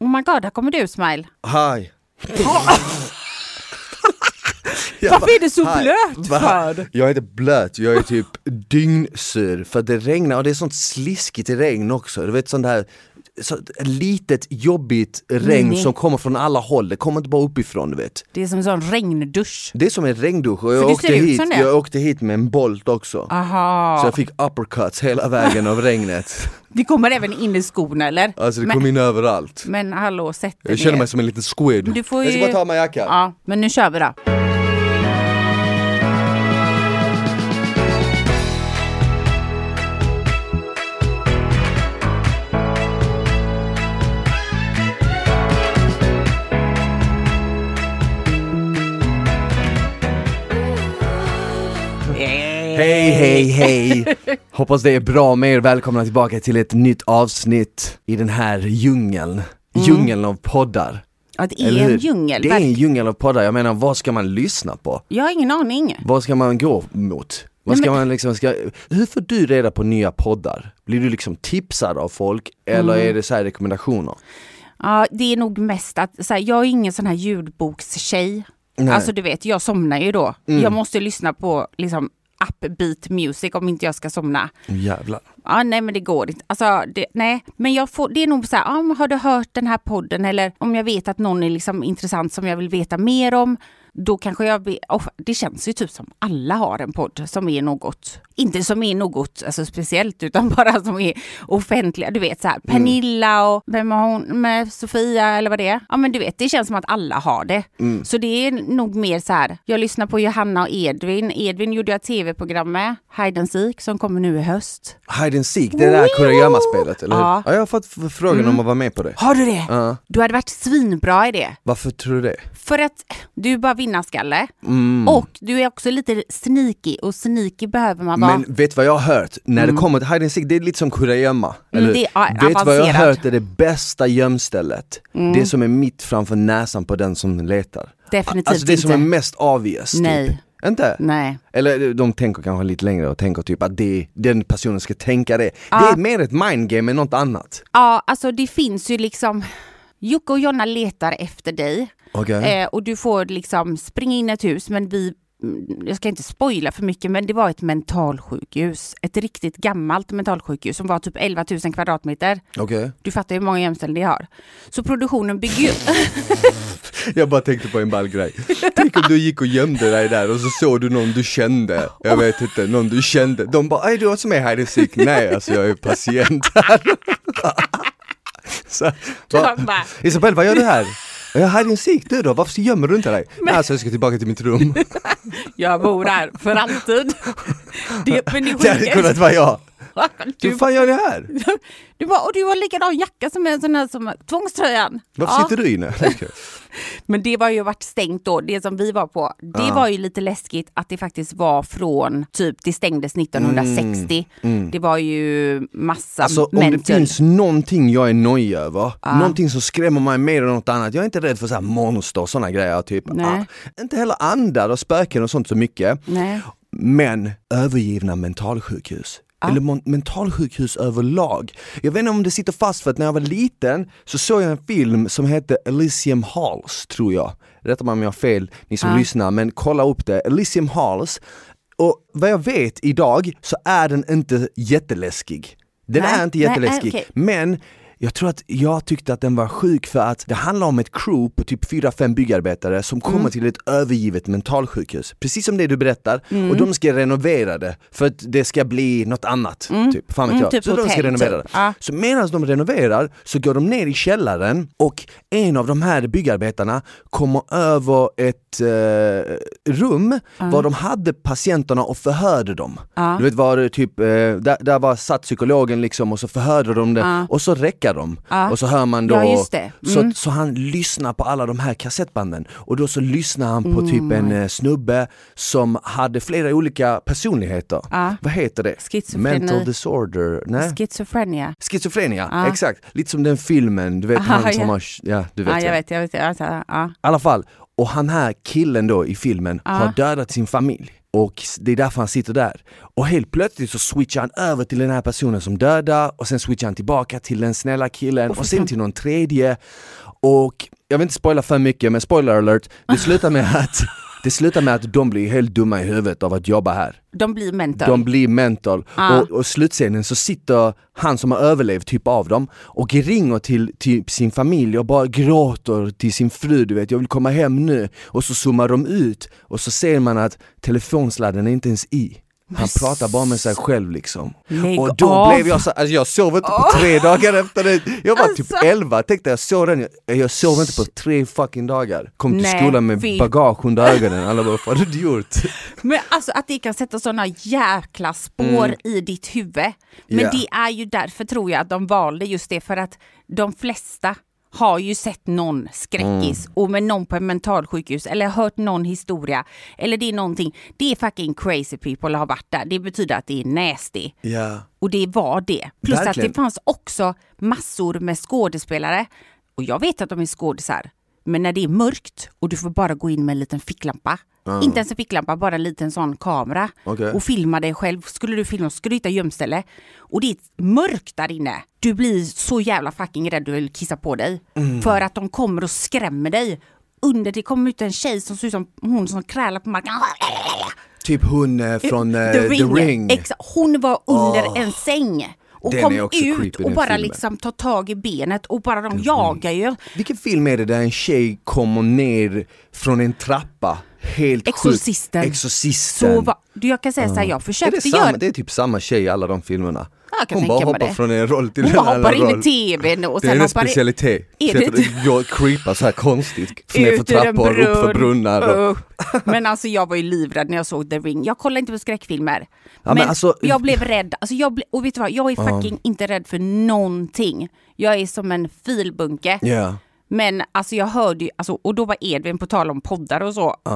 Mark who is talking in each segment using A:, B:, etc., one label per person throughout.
A: Oh my god, här kommer du Smile.
B: Hej! Jag bara,
C: Varför är det så
B: "Hej."
C: blöt
B: Va?
C: för?
B: Jag är inte blöt, jag är typ dyngsur för att det regnar och det är sånt sliskigt regn också. Du vet sånt här så, litet jobbigt regn
A: Nej.
B: som kommer från alla håll, det kommer inte bara uppifrån du vet.
A: Det är som en sån regndusch.
B: Det är som en regndusch och jag
A: det
B: åkte,
A: ser ut
B: hit,
A: som det.
B: jag åkte hit med en bolt också.
A: Aha.
B: Så jag fick uppercuts hela vägen av regnet.
A: Det kommer även in i skorna eller?
B: Alltså det
A: men,
B: kom in överallt.
A: men hallå, sätt dig
B: Jag känner
A: ner.
B: mig som en liten squid.
A: Du får
B: Jag ska
A: ju-
B: bara ta av mig jackan.
A: Ja, men nu kör vi då.
B: Hej hej hej! Hoppas det är bra med er, välkomna tillbaka till ett nytt avsnitt i den här djungeln. Djungeln av poddar.
A: Ja, Mm. det
B: eller
A: är en
B: hur?
A: djungel.
B: Det är en
A: verkligen.
B: djungel av poddar, jag menar vad ska man lyssna på?
A: Jag har ingen aning.
B: Vad ska man gå mot? Vad
A: Nej,
B: ska
A: men-
B: man liksom, ska, hur får du reda på nya poddar? Blir du liksom tipsad av folk eller
A: Mm.
B: är det så här rekommendationer?
A: Ja, det är nog mest att så här, jag är ingen sån här ljudbokstjej.
B: Nej. Mm.
A: Alltså du vet, jag somnar ju då. Jag måste lyssna på liksom upbeat music om inte jag ska somna.
B: Jävlar.
A: Ja, nej men det går inte. Alltså, det, nej. Men jag får, det är nog så här, ja, men har du hört den här podden eller om jag vet att någon är liksom intressant som jag vill veta mer om, då kanske jag... Be, oh, det känns ju typ som alla har en podd som är något, inte som är något alltså, speciellt utan bara som är offentliga. Du vet så här, Pernilla och vem har hon med Sofia eller vad det är. Ja men du vet, det känns som att alla har det. Så det är nog mer så här, jag lyssnar på Johanna och Edvin. Edvin gjorde jag tv-program med, Hide and Seek, som kommer nu i höst.
B: Hide and seek, det är det här kurragömma-spelet, eller hur? Ja.
A: Ja. Mm.
B: jag har fått f- frågan om att vara med på det.
A: Har du det?
B: Ja.
A: Du hade varit svinbra i det.
B: Varför tror du det?
A: För att du är bara vinnarskalle.
B: Mm.
A: Och du är också lite sneaky och sneaky behöver man vara.
B: Men vet vad jag har hört? När det kommer till hide and seek, det är lite som kurragömma. eller hur?
A: Mm. det är a-
B: vet vad jag har
A: avancerat. Mm.
B: hört är det bästa gömstället? Det som är mitt framför näsan på den som letar.
A: Definitivt
B: Alltså det
A: inte.
B: som är mest obvious. Typ.
A: Nej. Mm.
B: Inte?
A: Nej.
B: Eller eh, de tänker kanske lite längre och tänker typ att det, den personen ska tänka det. Det är mer ett mindgame än något annat.
A: Ja, alltså det finns ju liksom... Jocke och Jonna letar efter dig.
B: Okej.
A: Eh, och du får liksom springa in i ett hus, men vi... mm, Jag ska inte spoila för mycket, men det var ett mentalsjukhus. Ett riktigt gammalt mentalsjukhus som var typ 11 000 kvadratmeter.
B: Okej.
A: Du fattar hur många gömställen det har. Så produktionen bygger ju...
B: Jag bara tänkte på en ball grej. Tänk om du gick och gömde dig där och så såg du någon du kände. Jag vet inte, någon du kände. De bara, är du som är här i sick? Nej, alltså jag är patient här. Så, va,
A: De bara-
B: Isabel, vad gör du här? Jag är här i sick, du då? Varför gömmer du inte dig? Nej, alltså jag ska tillbaka till mitt rum.
A: Jag bor här för alltid. Det, men det
B: Det hade
A: sjuka
B: kunnat vara jag.
A: är-
B: Hur
A: du,
B: fan gör ni här?
A: du bara, och du har likadan jacka som en sån här som tvångströjan.
B: Varför sitter du inne?
A: Men det var ju varit stängt då, det som vi var på. Det var ju lite läskigt att det faktiskt var från, typ det stängdes 1960. Det var ju massa
B: Mm, Alltså om det
A: mental.
B: finns någonting jag är nojig över, någonting som skrämmer mig mer än något annat. Jag är inte rädd för så här monster och sådana grejer typ.
A: Nej.
B: Ah, inte heller andar och spöken och sånt så mycket.
A: Nej.
B: Men övergivna mentalsjukhus. Eller mon- mentalsjukhus överlag. Jag vet inte om det sitter fast för att när jag var liten så såg jag en film som hette Elysium Halls tror jag. Rätta mig om jag har fel, ni som lyssnar, men kolla upp det. Elysium Halls. Och vad jag vet idag så är den inte jätteläskig. Den
A: Nej,
B: är inte
A: nej, eh,
B: jätteläskig.
A: okej.
B: Men jag tror att jag tyckte att den var sjuk för att det handlar om ett crew på typ 4-5 byggarbetare som kommer
A: Mm.
B: till ett övergivet mentalsjukhus. Precis som det du berättar.
A: Mm.
B: Och de ska renovera det för att det ska bli något annat. Typ. Fan vet
A: Mm,
B: jag.
A: typ
B: så de ska
A: hotell,
B: renovera
A: typ.
B: det.
A: Ja.
B: Så medan de renoverar så går de ner i källaren och en av de här byggarbetarna kommer över ett eh, rum var de hade patienterna och förhörde dem. Du vet var det typ, eh, där, där var satt psykologen liksom och så förhörde de det och så räcker de. Och så hör man då,
A: Ja, just det. Mm.
B: så, så han lyssnar på alla de här kassettbanden och då så lyssnar han på typ
A: Mm.
B: en eh, snubbe som hade flera olika personligheter. Vad heter det?
A: Schizofreni.
B: Mental disorder? Nej.
A: Schizofrenia.
B: Schizofrenia, exakt. Lite som den filmen, du vet
A: Aha,
B: han som
A: ja.
B: har, ja du vet.
A: Ja,
B: ja.
A: jag vet, jag vet. Jag vet ja.
B: I alla fall, och han här killen då i filmen har dödat sin familj. och det är därför han sitter där. Och helt plötsligt så switchar han över till den här personen som dödar och sen switchar han tillbaka till den snälla killen och sen till någon tredje. Och jag vill inte spoila för mycket men spoiler alert, det slutar med att, det slutar med att de blir helt dumma i huvudet av att jobba här.
A: De blir mentor. Ah.
B: De blir mental. Och, och slutscenen så sitter han som har överlevt typ av dem och ringer till typ sin familj och bara gråter till sin fru, du vet jag vill komma hem nu. Och så zoomar de ut och så ser man att telefonsladden är inte ens i. Han pratar bara med sig själv liksom.
A: Lägg
B: och då
A: av.
B: blev jag så, alltså jag sov inte på tre dagar efter det. Jag var typ
A: Alltså.
B: 11, tänkte jag såg den, jag, jag sov inte på tre fucking dagar. Kom till
A: Nej,
B: skolan med
A: fy.
B: bagage under ögonen, alla bara vad har du gjort?
A: Men alltså att det kan sätta sådana jäkla spår i ditt huvud. Men
B: Ja.
A: det är ju därför tror jag att de valde just det för att de flesta har ju sett någon skräckis och med någon på en mentalsjukhus eller hört någon historia eller det är någonting. Det är fucking crazy people har varit där. Det betyder att det är nasty.
B: Ja.
A: Och det var det. Plus
B: Verkligen.
A: att det fanns också massor med skådespelare. Och jag vet att de är skådisar. Men när det är mörkt och du får bara gå in med en liten ficklampa. Inte ens en ficklampa, bara en liten sån kamera.
B: Ah. Okej.
A: Och filma dig själv. Skulle du filma skulle du hitta gömställe. Och det är mörkt där inne. Du blir så jävla fucking rädd du vill kissa på dig.
B: Mm.
A: För att de kommer och skrämmer dig. Under det kom ut en tjej som såg ut som hon som krälar på marken.
B: Typ hon eh, från eh,
A: The Ring.
B: The Ring.
A: Exa- hon var under en säng och
B: Den är
A: kom
B: också creepy,
A: ut
B: den
A: och bara
B: filmen.
A: liksom tar tag i benet och bara de jagar ju.
B: Vilken film är det där en tjej kommer ner från en trappa? Helt
A: Exorcisten.
B: sjukt. Exorcisten.
A: Så va, du, jag kan säga så här, jag
B: är det,
A: försökte
B: samma,
A: göra
B: det är typ samma tjej i alla de filmerna.
A: Jag kan
B: Hon
A: tänka mig
B: bara hoppar
A: det.
B: från en roll till
A: hon
B: en
A: bara
B: annan
A: hoppar in
B: roll.
A: i tvn och
B: det är
A: sen
B: hennes
A: hoppar in-
B: specialitet.
A: Är
B: Sätter-
A: det-
B: Gå och creepa så här konstigt. Ner för
A: ut ur en
B: trappor, upp för
A: brunn.
B: brunnar. Och,
A: Usch. Men alltså jag var ju livrädd när jag såg The Ring. Jag kollar inte på skräckfilmer.
B: men
A: men
B: alltså-
A: jag blev rädd. Alltså jag ble, och vet du vad, jag är fucking inte rädd för någonting. Jag är som en filbunke.
B: Ja.
A: Men alltså jag hörde ju, alltså, och då var Edvin på tal om poddar och så.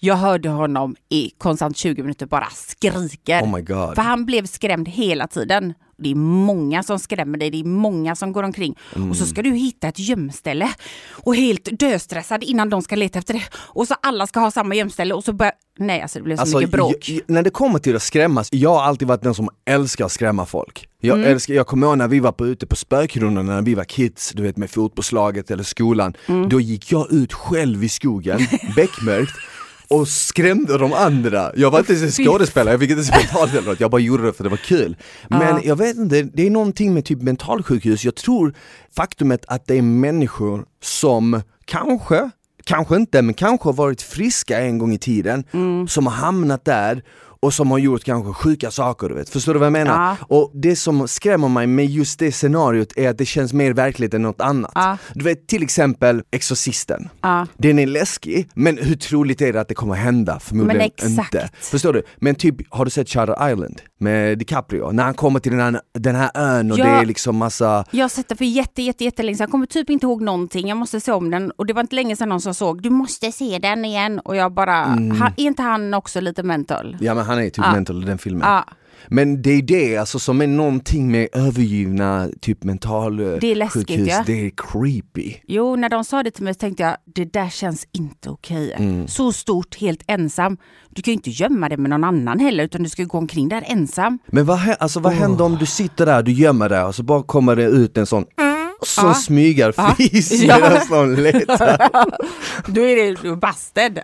A: Jag hörde honom i konstant 20 minuter bara skriker.
B: Oh my god.
A: För han blev skrämd hela tiden. Det är många som skrämmer dig, det är många som går omkring. Och
B: Mm.
A: så ska du hitta ett gömställe och helt döstressad innan de ska leta efter det. Och så alla ska ha samma gömställe och så börjar... Nej, alltså det blev så mycket bråk.
B: j- j- när det kommer till att skrämmas, jag har alltid varit den som älskar att skrämma folk. Jag,
A: Mm.
B: älskar, jag kommer ihåg när vi var på, ute på spökrundorna när vi var kids, du vet med fotbollslaget eller skolan.
A: Mm.
B: Då gick jag ut själv i skogen, beckmörkt, och skrämde de andra. Jag var inte ens en skådespelare, jag fick inte ens betalt eller något. Jag bara gjorde det för det var kul. Men jag vet inte, det är någonting med typ mentalsjukhus. Jag tror faktumet att det är människor som kanske kanske inte, men kanske har varit friska en gång i tiden,
A: Mm.
B: som har hamnat där och som har gjort kanske sjuka saker, du vet. Förstår du vad jag menar? Och det som skrämmer mig med just det scenariot är att det känns mer verkligt än något annat. Du vet till exempel Exorcisten. Den är läskig, men hur troligt är det att det kommer hända? Förmodligen
A: Men exakt.
B: inte. Förstår du? Men typ, har du sett Shutter Island med DiCaprio? När han kommer till den här, den här ön och
A: Ja.
B: det är liksom massa
A: Jag har sett den för jätte, jätte, jättelänge sedan. Jag kommer typ inte ihåg någonting. Jag måste se om den. Och det var inte länge sedan någon som såg, du måste se den igen. Och jag bara,
B: Mm.
A: han, är inte han också lite mental?
B: Ja men han är typ
A: Ah.
B: mental i den filmen.
A: Ja.
B: Men det är det alltså som är någonting med övergivna typ mental eh,
A: Det är läskigt,
B: sjukhus,
A: ja.
B: det är creepy.
A: Jo, när de sa det till mig så tänkte jag, det där känns inte okej.
B: Mm.
A: Så stort, helt ensam. Du kan ju inte gömma det med någon annan heller, utan du ska ju gå omkring där ensam.
B: Men vad, hä- alltså, vad händer om du sitter där, du gömmer dig och så bara kommer det ut en sån som
A: Ja.
B: smygarfis
A: Mm. Ah. Ja.
B: medan någon letar.
A: Då är det du är busted.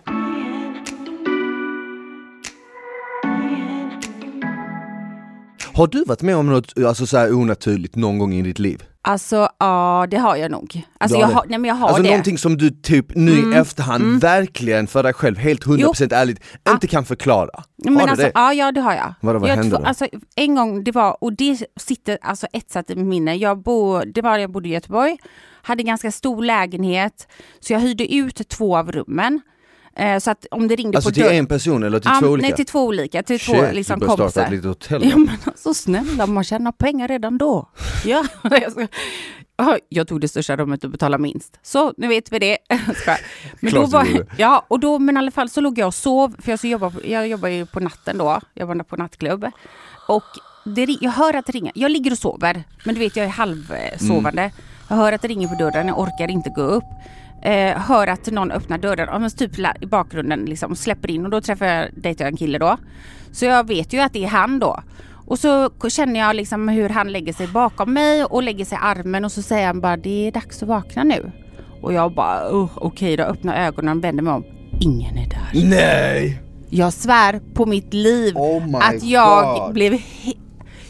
B: Har du varit med om något alltså, så här onaturligt någon gång i ditt liv?
A: Alltså, ja, det har jag nog. Alltså,
B: Du
A: jag
B: har
A: har,
B: det?
A: nej, men jag har
B: alltså
A: det. Mm.
B: någonting som du typ nu i efterhand verkligen för dig själv, helt 100% ärligt, inte kan förklara.
A: Ah. Men
B: har du
A: alltså,
B: det?
A: Ja, ja det har jag.
B: Vadå, vad
A: jag
B: hände
A: två-
B: då?
A: Alltså, en gång, det var, och det sitter alltså etsat i mitt minne. Jag bo, det var när jag bodde i Göteborg, hade ganska stor lägenhet, så jag hyrde ut två av rummen. Eh, så att om det ringde
B: Alltså
A: på
B: till
A: dörren...
B: en person eller till två olika?
A: Nej, till två olika, till två
B: Shit,
A: liksom,
B: du bör starta
A: kompisar.
B: ett litet hotell.
A: Ja men alltså snälla, man tjänar pengar redan då. Ja, jag ska- Ja, jag tog det största rummet och betalade minst. Så nu vet vi det. Jag skojar. Men då
B: Klart du
A: var,
B: gjorde.
A: ja, och då, men i alla fall så låg jag och sov, för jag, så jobbar, på- jag jobbar ju på natten då, jag jobbar på nattklubb. Och det, ri- jag hör att det ringer, jag ligger och
B: Mm.
A: sover, men du vet jag är halvsovande. Jag hör att det ringer på dörren, jag orkar inte gå upp. eh, hör att någon öppnar dörren, ja, men typ la- i bakgrunden liksom, och släpper in och då träffar jag, dejtar jag en kille då. Så jag vet ju att det är han då. Och så k- känner jag liksom hur han lägger sig bakom mig och lägger sig i armen och så säger han bara det är dags att vakna nu. Och jag bara "Ugh, okej då, öppnar ögonen och vänder mig om. Ingen är där.
B: Nej!
A: Jag svär på mitt liv
B: Oh my
A: att jag
B: God.
A: blev... he-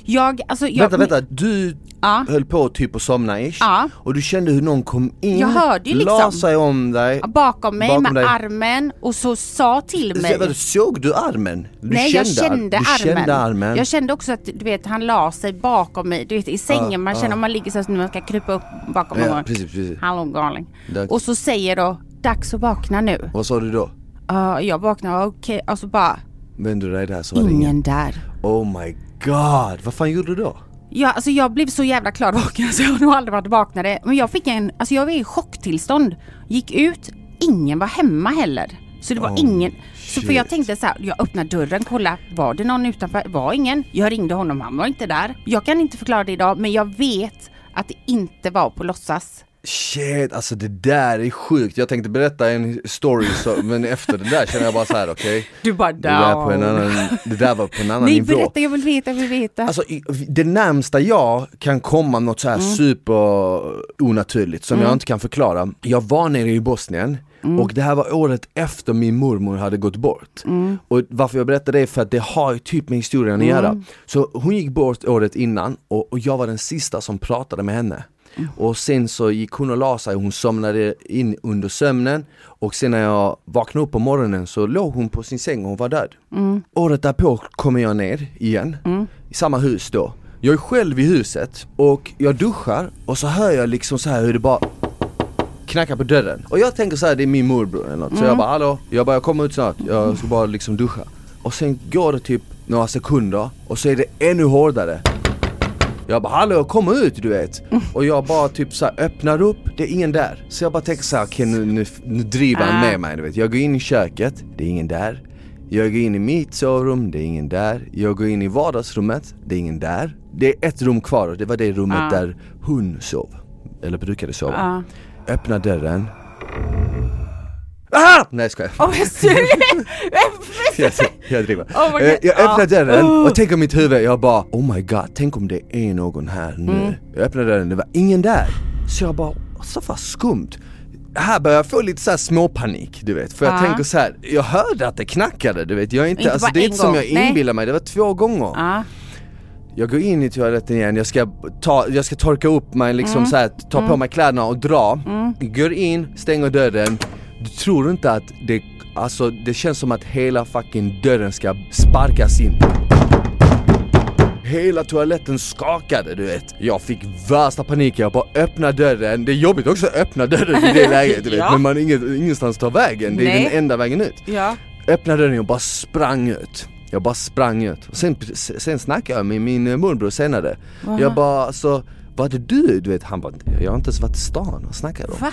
A: Jag, alltså jag...
B: vänta, vänta, du
A: Ja.
B: höll på typ att somna ish
A: Ja.
B: och du kände hur någon kom in,
A: Jag hörde ju
B: la
A: liksom.
B: sig om dig
A: Bakom mig
B: Bakom
A: med
B: dig.
A: armen och så sa till mig...
B: Så, vänta, Såg du armen? Du
A: Nej jag kände,
B: du
A: armen.
B: kände armen.
A: Jag kände också att du vet han la sig bakom mig, du vet i sängen, man känner om man ligger så här, så man ska krypa upp bakom
B: Ah, Ja,
A: någon.
B: precis, precis.
A: Hallå galning.
B: Dags.
A: Och så säger då, dags att vakna nu.
B: Vad sa du då?
A: Ja, jag vaknar, okej, och så bara,
B: Vände du dig där så var det ingen.
A: ingen där.
B: Oh my god, vad fan gjorde du då?
A: Ja, alltså jag blev så jävla klarvaken så jag har nog aldrig varit vaknare. Men jag fick en, alltså jag var i chocktillstånd. Gick ut, ingen var hemma heller. Så det var
B: Oh,
A: ingen. Så för jag
B: shit.
A: tänkte så här, jag öppnar dörren, kolla, var det någon utanför? Var ingen. Jag ringde honom, han var inte där. Jag kan inte förklara det idag, men jag vet att det inte var på låtsas.
B: Shit, alltså det där är sjukt. Jag tänkte berätta en story, så, men efter det där känner jag bara så här: okej.
A: Du bara
B: Det, där på en
A: down.
B: annan- det där var på en annan
A: Nej
B: nivå.
A: berätta, jag vill veta, jag vill veta.
B: Alltså i- Mm. det närmsta jag kan komma något så här super onaturligt som jag inte kan förklara. Jag var nere i Bosnien och det här var året efter min mormor hade gått bort. Och varför jag berättar det är för att det har ju typ med historien att göra. Så hon gick bort året innan och, och jag var den sista som pratade med henne. Och sen så gick hon och la sig, hon somnade in under sömnen och sen när jag vaknade upp på morgonen så låg hon på sin säng och hon var död. Året därpå kommer jag ner igen, i samma hus då. Jag är själv i huset och jag duschar och så hör jag liksom så här hur det bara knackar på dörren. Och jag tänker så här, det är min morbror eller något. Så jag bara hallå, jag bara jag kommer ut snart, jag ska bara liksom duscha. Och sen går det typ några sekunder och så är det ännu hårdare. Jag bara hallå kom ut du vet! Och jag bara typ så här, öppnar upp, det är ingen där. Så jag bara tänker så här, okej nu, nu, nu driver han med mig du vet. Jag går in i köket, det är ingen där. Jag går in i mitt sovrum, det är ingen där. Jag går in i vardagsrummet, det är ingen där. Det är ett rum kvar och det var det rummet där hon sov. Eller brukade sova.
A: Ja.
B: Öppna dörren. Ah! Nej jag skojar.
A: Åh, vad sur-
B: Jag, jag driver.
A: Oh my God. Ah. Uh.
B: Eh, jag öppnar
A: Ja.
B: dörren och tänker i mitt huvud, jag bara oh my god, tänk om det är någon här nu.
A: Mm.
B: Jag öppnar dörren, det var ingen där. Så jag bara, så fan skumt. Här börjar jag få lite så här småpanik, du vet. För jag
A: Ja.
B: tänker så här, jag hörde att det knackade, du vet. Jag är inte,
A: Ah. Inte
B: alltså,
A: bara
B: det är
A: en
B: inte som
A: gång,
B: jag
A: nej. Ah.
B: inbillar mig, det var två gånger.
A: Ja.
B: Jag går in i toaletten igen, jag ska, ta, jag ska torka upp mig, liksom
A: Mm.
B: så här, ta på mig kläderna och dra. Går in, stänger dörren. Du tror inte att det, alltså det känns som att hela fucking dörren ska sparkas in. Hela toaletten skakade du vet. Jag fick värsta paniken, jag bara öppna dörren. Det är jobbigt också att öppna dörren i det läget du vet.
A: Ja.
B: Men man har inget, ingenstans att ta vägen, det är
A: Nej.
B: den enda vägen ut
A: Ja.
B: öppnade dörren och bara sprang ut. Jag bara sprang ut. Och sen, sen snackade jag med min eh, morbror senare. Jag bara alltså, var det du? Du vet han bara, jag har inte ens varit i stan och snackat om.
A: Va?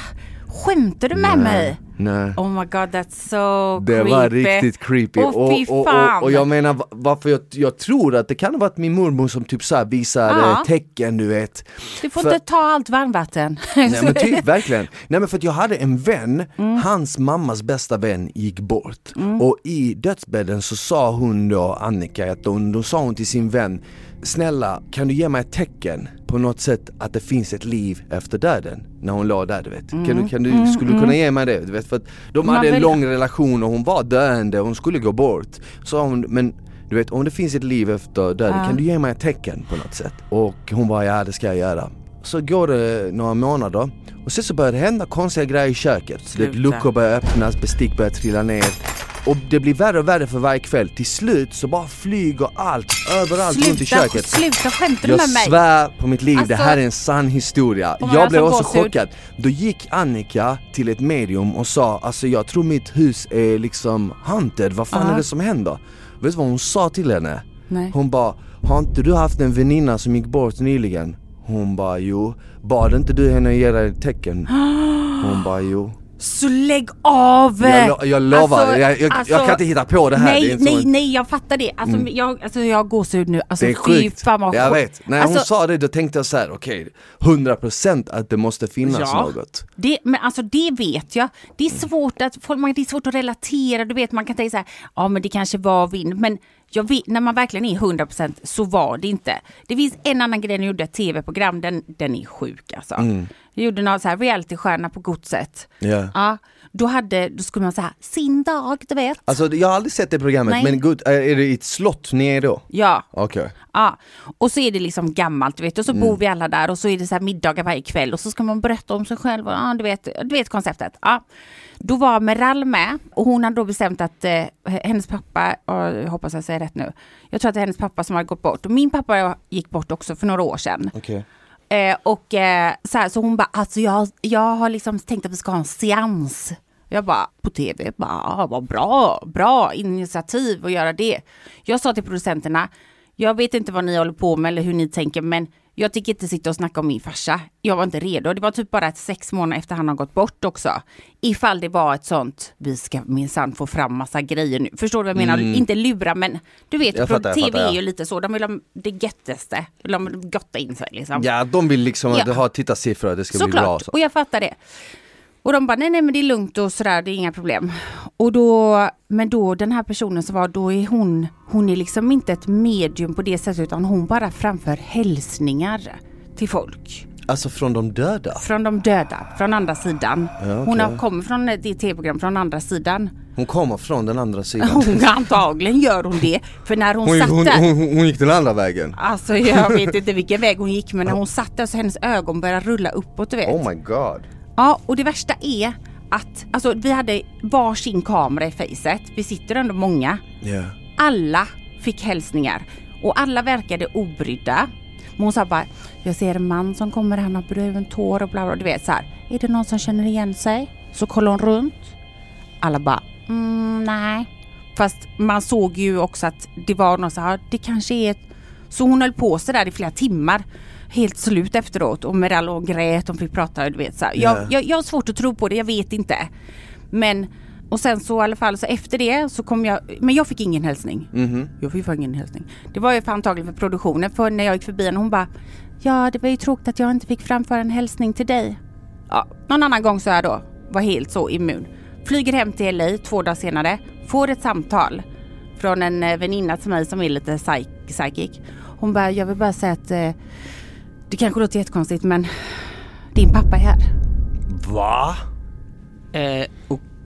A: Skämtar du med mig?
B: Nej.
A: Oh my god that's so
B: Det
A: creepy.
B: var riktigt creepy
A: Åh fy
B: och, och,
A: fan.
B: och, och jag menar va- varför jag, jag tror att det kan ha varit min mormor som typ så här visade
A: Ja.
B: tecken du vet
A: du får
B: för-
A: inte ta allt varmvatten.
B: Nej men typ verkligen. Nej men för att jag hade en vän,
A: Mm.
B: hans mammas bästa vän gick bort. Och i dödsbädden så sa hon då, Annika, att hon, då sa hon till sin vän Snälla, kan du ge mig ett tecken på något sätt att det finns ett liv efter döden? När hon låg där du vet. Kan du, kan du, skulle du kunna ge mig det? Du vet, för att de
A: Mm. Man
B: hade en
A: vill-
B: lång relation och hon var döende, hon skulle gå bort. Så hon, men du vet om det finns ett liv efter döden, kan du ge mig ett tecken på något sätt? Och hon bara, ja det ska jag göra. Så går det några månader och sen så börjar det hända konstiga grejer i köket. Du vet,
A: Sluta.
B: Luckor börjar öppnas, bestick börjar trilla ner. Och det blir värre och värre för varje kväll. Till slut så bara flyger allt överallt runt i
A: sluta,
B: köket.
A: sluta skämtar du
B: Jag
A: med mig?
B: svär på mitt liv, det
A: Alltså-
B: här är en sann historia.
A: man
B: Jag
A: har
B: blev
A: sån
B: också
A: gåshud.
B: chockad. Då gick Annika till ett medium och sa alltså jag tror mitt hus är liksom haunted, vad fan är det som händer? Vet du vad hon sa till henne?
A: Nej.
B: Hon bara, har inte du haft en väninna som gick bort nyligen? Hon bara, jo. Bad inte du henne ge dig ett tecken? Hon bara, jo.
A: Så lägg av!
B: Jag, lo- jag lovar,
A: Alltså,
B: jag, jag,
A: alltså,
B: jag kan inte hitta på det här. det
A: Nej,
B: är inte
A: nej,
B: som-
A: nej, jag fattar det. Alltså, jag, alltså, jag har gåshud nu. Alltså,
B: Det är
A: fy
B: sjukt.
A: fan vad
B: Jag
A: sjukt.
B: vet. När hon
A: Alltså,
B: sa det då tänkte jag så här: okej, 100% att det måste finnas
A: Ja.
B: något.
A: Det, men alltså det vet jag. Det är svårt att, folk, man- det är svårt att relatera. Du vet, man kan tänka så här, ja men det kanske var vind. Men jag vet, när man verkligen är 100% så var det inte. Det finns en annan grej när jag gjorde ett tv-program, den, den är sjuk alltså. Jag gjorde någon så här realitystjärna på godset.
B: Ja.
A: Ja, då, hade, då skulle man säga sin dag, du vet.
B: Alltså jag har aldrig sett det programmet,
A: Nej.
B: men gud, är är det i ett slott ni är då?
A: Ja,
B: Okej.
A: Ja, och så är det liksom gammalt du vet och så bor vi alla där och så är det så här middagar varje kväll och så ska man berätta om sig själv och ja, du, vet, du vet konceptet. Ja. Då var Meral med och hon hade då bestämt att eh, hennes pappa, ja, jag hoppas jag säger rätt nu, jag tror att det är hennes pappa som har gått bort och min pappa gick bort också för några år sedan.
B: Okej.
A: Eh, och eh, så, här, så hon bara, alltså jag, jag har liksom tänkt att vi ska ha en seans. Jag bara, på tv, bara, ah, vad bra, bra initiativ att göra det. Jag sa till producenterna, jag vet inte vad ni håller på med eller hur ni tänker, men jag tänker inte sitta och snacka om min farsa. Jag var inte redo. Det var typ bara ett sex månader efter han har gått bort också. Ifall det var ett sånt, vi ska minsann få fram massa grejer nu. Förstår du vad jag menar? Inte lura, men du vet,
B: Mm. Jag fattar, jag
A: tv
B: fattar, ja.
A: är ju lite så. De vill ha det göttaste. De vill gotta in sig liksom.
B: Ja, de vill liksom
A: Ja.
B: att ha tittarsiffror, det ska bli bra.
A: Såklart,
B: Så.
A: och jag fattar det. Och de bara, nej nej men det är lugnt och sådär, det är inga problem. Och då, men då den här personen som var, då är hon, hon är liksom inte ett medium på det sättet utan hon bara framför hälsningar till folk.
B: Alltså från de döda?
A: Från de döda, från andra sidan.
B: okej.
A: Hon har kommit från ett tv-program från andra sidan.
B: Hon kommer från den andra sidan.
A: Hon, antagligen gör hon det, för när hon,
B: Hon,
A: satt
B: hon,
A: där.
B: hon, hon, hon gick den andra vägen.
A: Alltså jag vet inte vilken väg hon gick men när hon satt där så hennes ögon började rulla uppåt du vet.
B: Oh my god.
A: Ja, och det värsta är att alltså, vi hade varsin kamera i facet. Vi sitter ändå många.
B: Ja.
A: Alla fick hälsningar och alla verkade obrydda. Men hon sa bara, jag ser en man som kommer, han har brun tår och bla bla. Du vet så här, är det någon som känner igen sig? Så kollar hon runt. Alla bara, mm, nej. Fast man såg ju också att det var någon så här, det kanske är ett... Så hon höll på sådär i flera timmar. Helt slut efteråt och Meral och grät, de fick prata du vet så här. Jag,
B: Ja.
A: jag, jag har svårt att tro på det, jag vet inte. Men och sen så i alla fall så efter det så kom jag, men jag fick ingen hälsning. Jag fick fan ingen hälsning. Det var ju för antagligen för produktionen för när jag gick förbi henne hon bara Ja det var ju tråkigt att jag inte fick framföra en hälsning till dig. Ja, någon annan gång så är jag då, var helt så immun. Flyger hem till LA två dagar senare, får ett samtal från en eh, väninna till mig som är lite psych- psychic. Hon bara, jag vill bara säga att eh, det kanske låter jättekonstigt men din pappa är här.
B: Va?
A: Eh,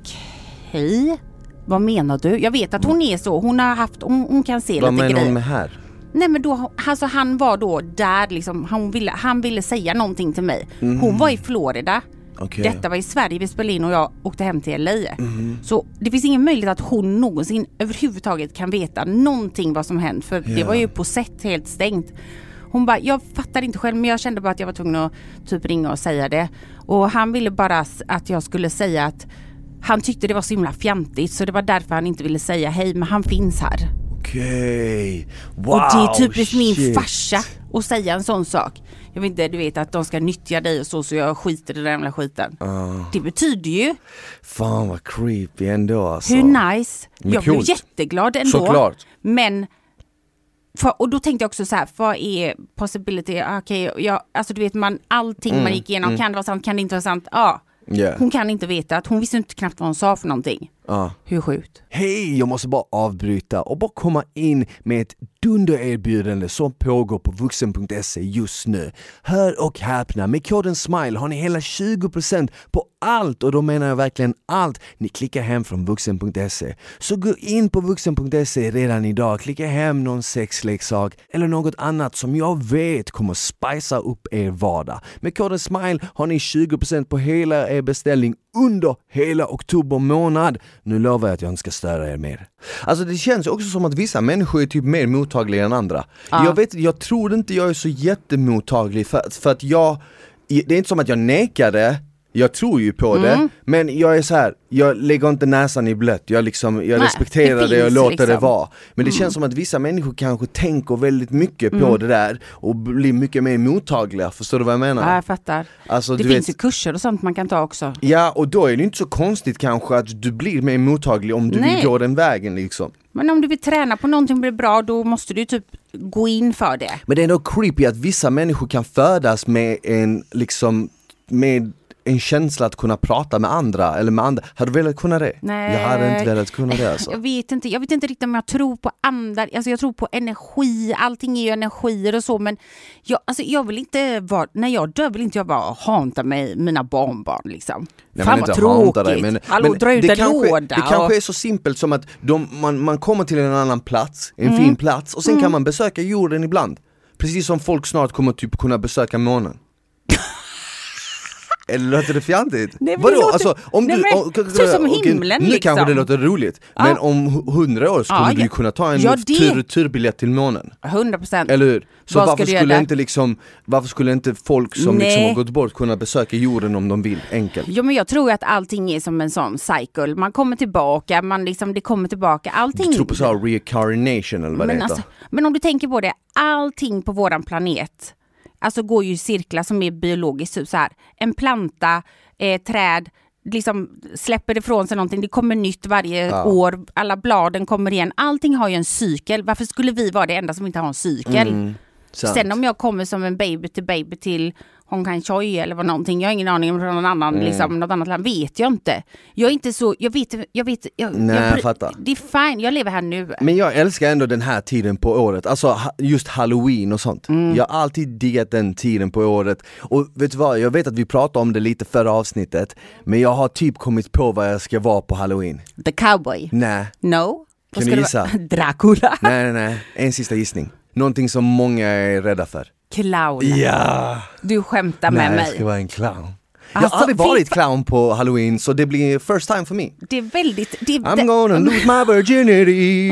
A: Okej. Vad menar du? Jag vet att hon är så. Hon har haft, hon, hon kan se
B: Vad
A: lite
B: menar
A: grejer.
B: hon med här?
A: Nej men då, alltså han var då där liksom. Han ville, han ville säga någonting till mig.
B: Mm.
A: Hon var i Florida.
B: Okej.
A: Detta var i Sverige vi spelade in och jag åkte hem till LA.
B: Mhm.
A: Så det finns ingen möjlighet att hon någonsin överhuvudtaget kan veta någonting vad som hänt. För det
B: Ja.
A: var ju på sätt helt stängt. Hon bara, jag fattar inte själv men jag kände bara att jag var tvungen att typ ringa och säga det. Och han ville bara s- att jag skulle säga att han tyckte det var så himla fjantigt så det var därför han inte ville säga hej men han finns här.
B: Okej. Wow,
A: Och det är typiskt min
B: shit.
A: farsa att säga en sån sak. Jag vet inte, du vet att de ska nyttja dig och så, så jag skiter i den jävla skiten. Det betyder ju,
B: Fan vad creepy ändå alltså.
A: hur nice.
B: Men
A: jag blev
B: coolt.
A: jätteglad ändå.
B: Såklart.
A: Men, för, och då tänkte jag också så här, vad är possibility? Ah, Okej, jag, alltså du vet man, allting man
B: Mm,
A: gick igenom, kan det vara sant, kan det inte vara sant? Ja,
B: Ja.
A: hon kan inte veta, att hon visste inte knappt vad hon sa för någonting.
B: Ja.
A: Hur sjukt?
B: Hej, jag måste bara avbryta och bara komma in med ett dundererbjudande som pågår på vuxen.se E just nu. Hör och häpna, med koden SMILE har ni hela 20% på allt och då menar jag verkligen allt ni klickar hem från vuxen.se. E. Så gå in på vuxen.se E redan idag, klicka hem någon sexleksak eller något annat som jag vet kommer spicea upp er vardag. Med koden SMILE har ni 20% på hela er beställning under hela oktober månad. Nu lovar jag att jag inte ska störa er mer. Alltså det känns ju också som att vissa människor är typ mer mottagliga än andra. Jag, vet, jag tror inte jag är så jättemottaglig för, för att jag, det är inte som att jag nekar det, Jag tror ju på
A: Mm.
B: det, men jag är så här, jag lägger inte näsan i blött, jag, liksom, jag
A: Nej,
B: respekterar det,
A: det
B: jag
A: finns
B: låter det
A: liksom.
B: vara. Men det känns som att vissa människor kanske tänker väldigt mycket
A: Mm.
B: på det där och blir mycket mer mottagliga, förstår du vad jag
A: Ja,
B: menar?
A: jag fattar.
B: Alltså,
A: det
B: du
A: finns
B: vet,
A: ju kurser och sånt man kan ta också.
B: Ja, och då är det inte så konstigt kanske att du blir mer mottaglig om du
A: Nej.
B: vill gå den vägen liksom.
A: Men om du vill träna på någonting och bli bra, då måste du ju typ gå in för det.
B: Men det är ändå creepy att vissa människor kan födas med en, liksom, med en känsla att kunna prata med andra eller med andra. Hade du velat kunna det?
A: Nej.
B: Jag hade inte velat kunna det alltså.
A: Jag vet, inte, jag vet inte riktigt om jag tror på andar, alltså jag tror på energi, allting är ju energier och så men jag, alltså jag vill inte vara, när jag dör vill inte jag bara hanta mig, mina barnbarn liksom.
B: Nej,
A: Fan
B: men
A: vad
B: inte hanta
A: tråkigt!
B: dig, men-
A: Hallå,
B: men
A: dra ut en
B: kanske,
A: låda
B: Det
A: och,
B: kanske är så simpelt som att de, man, man kommer till en annan plats, en
A: Mm.
B: fin plats och sen kan man besöka jorden ibland. Precis som folk snart kommer typ kunna besöka månen. Eller låter det fjantigt?
A: Nej, men det
B: Vadå?
A: låter-
B: Alltså, om
A: Nej,
B: du,
A: men
B: o-
A: så som
B: okej,
A: himlen,
B: Nu kanske
A: liksom.
B: det låter roligt, men om hu- hundra år skulle
A: Ja,
B: du ju
A: ja.
B: kunna ta en
A: Ja, det-
B: tur tur-biljett till månen.
A: 100 procent.
B: Eller hur? Så
A: Vad ska
B: varför
A: du göra
B: skulle,
A: där?
B: inte liksom, varför skulle inte folk som liksom
A: Nej.
B: har gått bort kunna besöka jorden om de vill? Enkelt.
A: Ja men jag tror ju att allting är som en sån cycle, man kommer tillbaka, man liksom, det kommer tillbaka, allting.
B: Du tror på så här reincarnation eller vad det
A: Mm. men,
B: heter?
A: alltså, men om du tänker på det, allting på våran planet alltså går ju i cirklar som är biologiskt. Typ så här. En planta, eh, träd, liksom släpper ifrån sig någonting, det kommer nytt varje
B: Ja.
A: år, alla bladen kommer igen. Allting har ju en cykel, varför skulle vi vara det enda som inte har en cykel?
B: Mm, Sant.
A: Sen om jag kommer som en baby till baby till Hong Kong Choi eller vad någonting, jag har ingen aning om från någon annan,
B: Mm.
A: liksom, något annat land, vet jag inte. Jag är inte så, jag vet, jag vet, jag,
B: Nej,
A: jag,
B: jag fattar.
A: det är fine, jag lever här nu.
B: Men jag älskar ändå den här tiden på året, alltså ha- just halloween och sånt.
A: Mm.
B: Jag har alltid diggat den tiden på året. Och vet du vad, jag vet att vi pratade om det lite förra avsnittet, men jag har typ kommit på vad jag ska vara på halloween.
A: The cowboy.
B: Nej,
A: No.
B: Kan
A: Vad
B: du
A: ska det
B: gissa?
A: vara? Dracula.
B: nej, nej, nej. En sista gissning. Någonting som många är rädda för.
A: Clown.
B: Ja!
A: Du skämtar
B: Nej,
A: med
B: jag ska
A: mig.
B: vara en clown. jag
A: Alltså,
B: har aldrig
A: fy
B: varit clown på halloween, så det blir first time for me.
A: Det är väldigt... Det,
B: I'm
A: det,
B: gonna lose my virginity.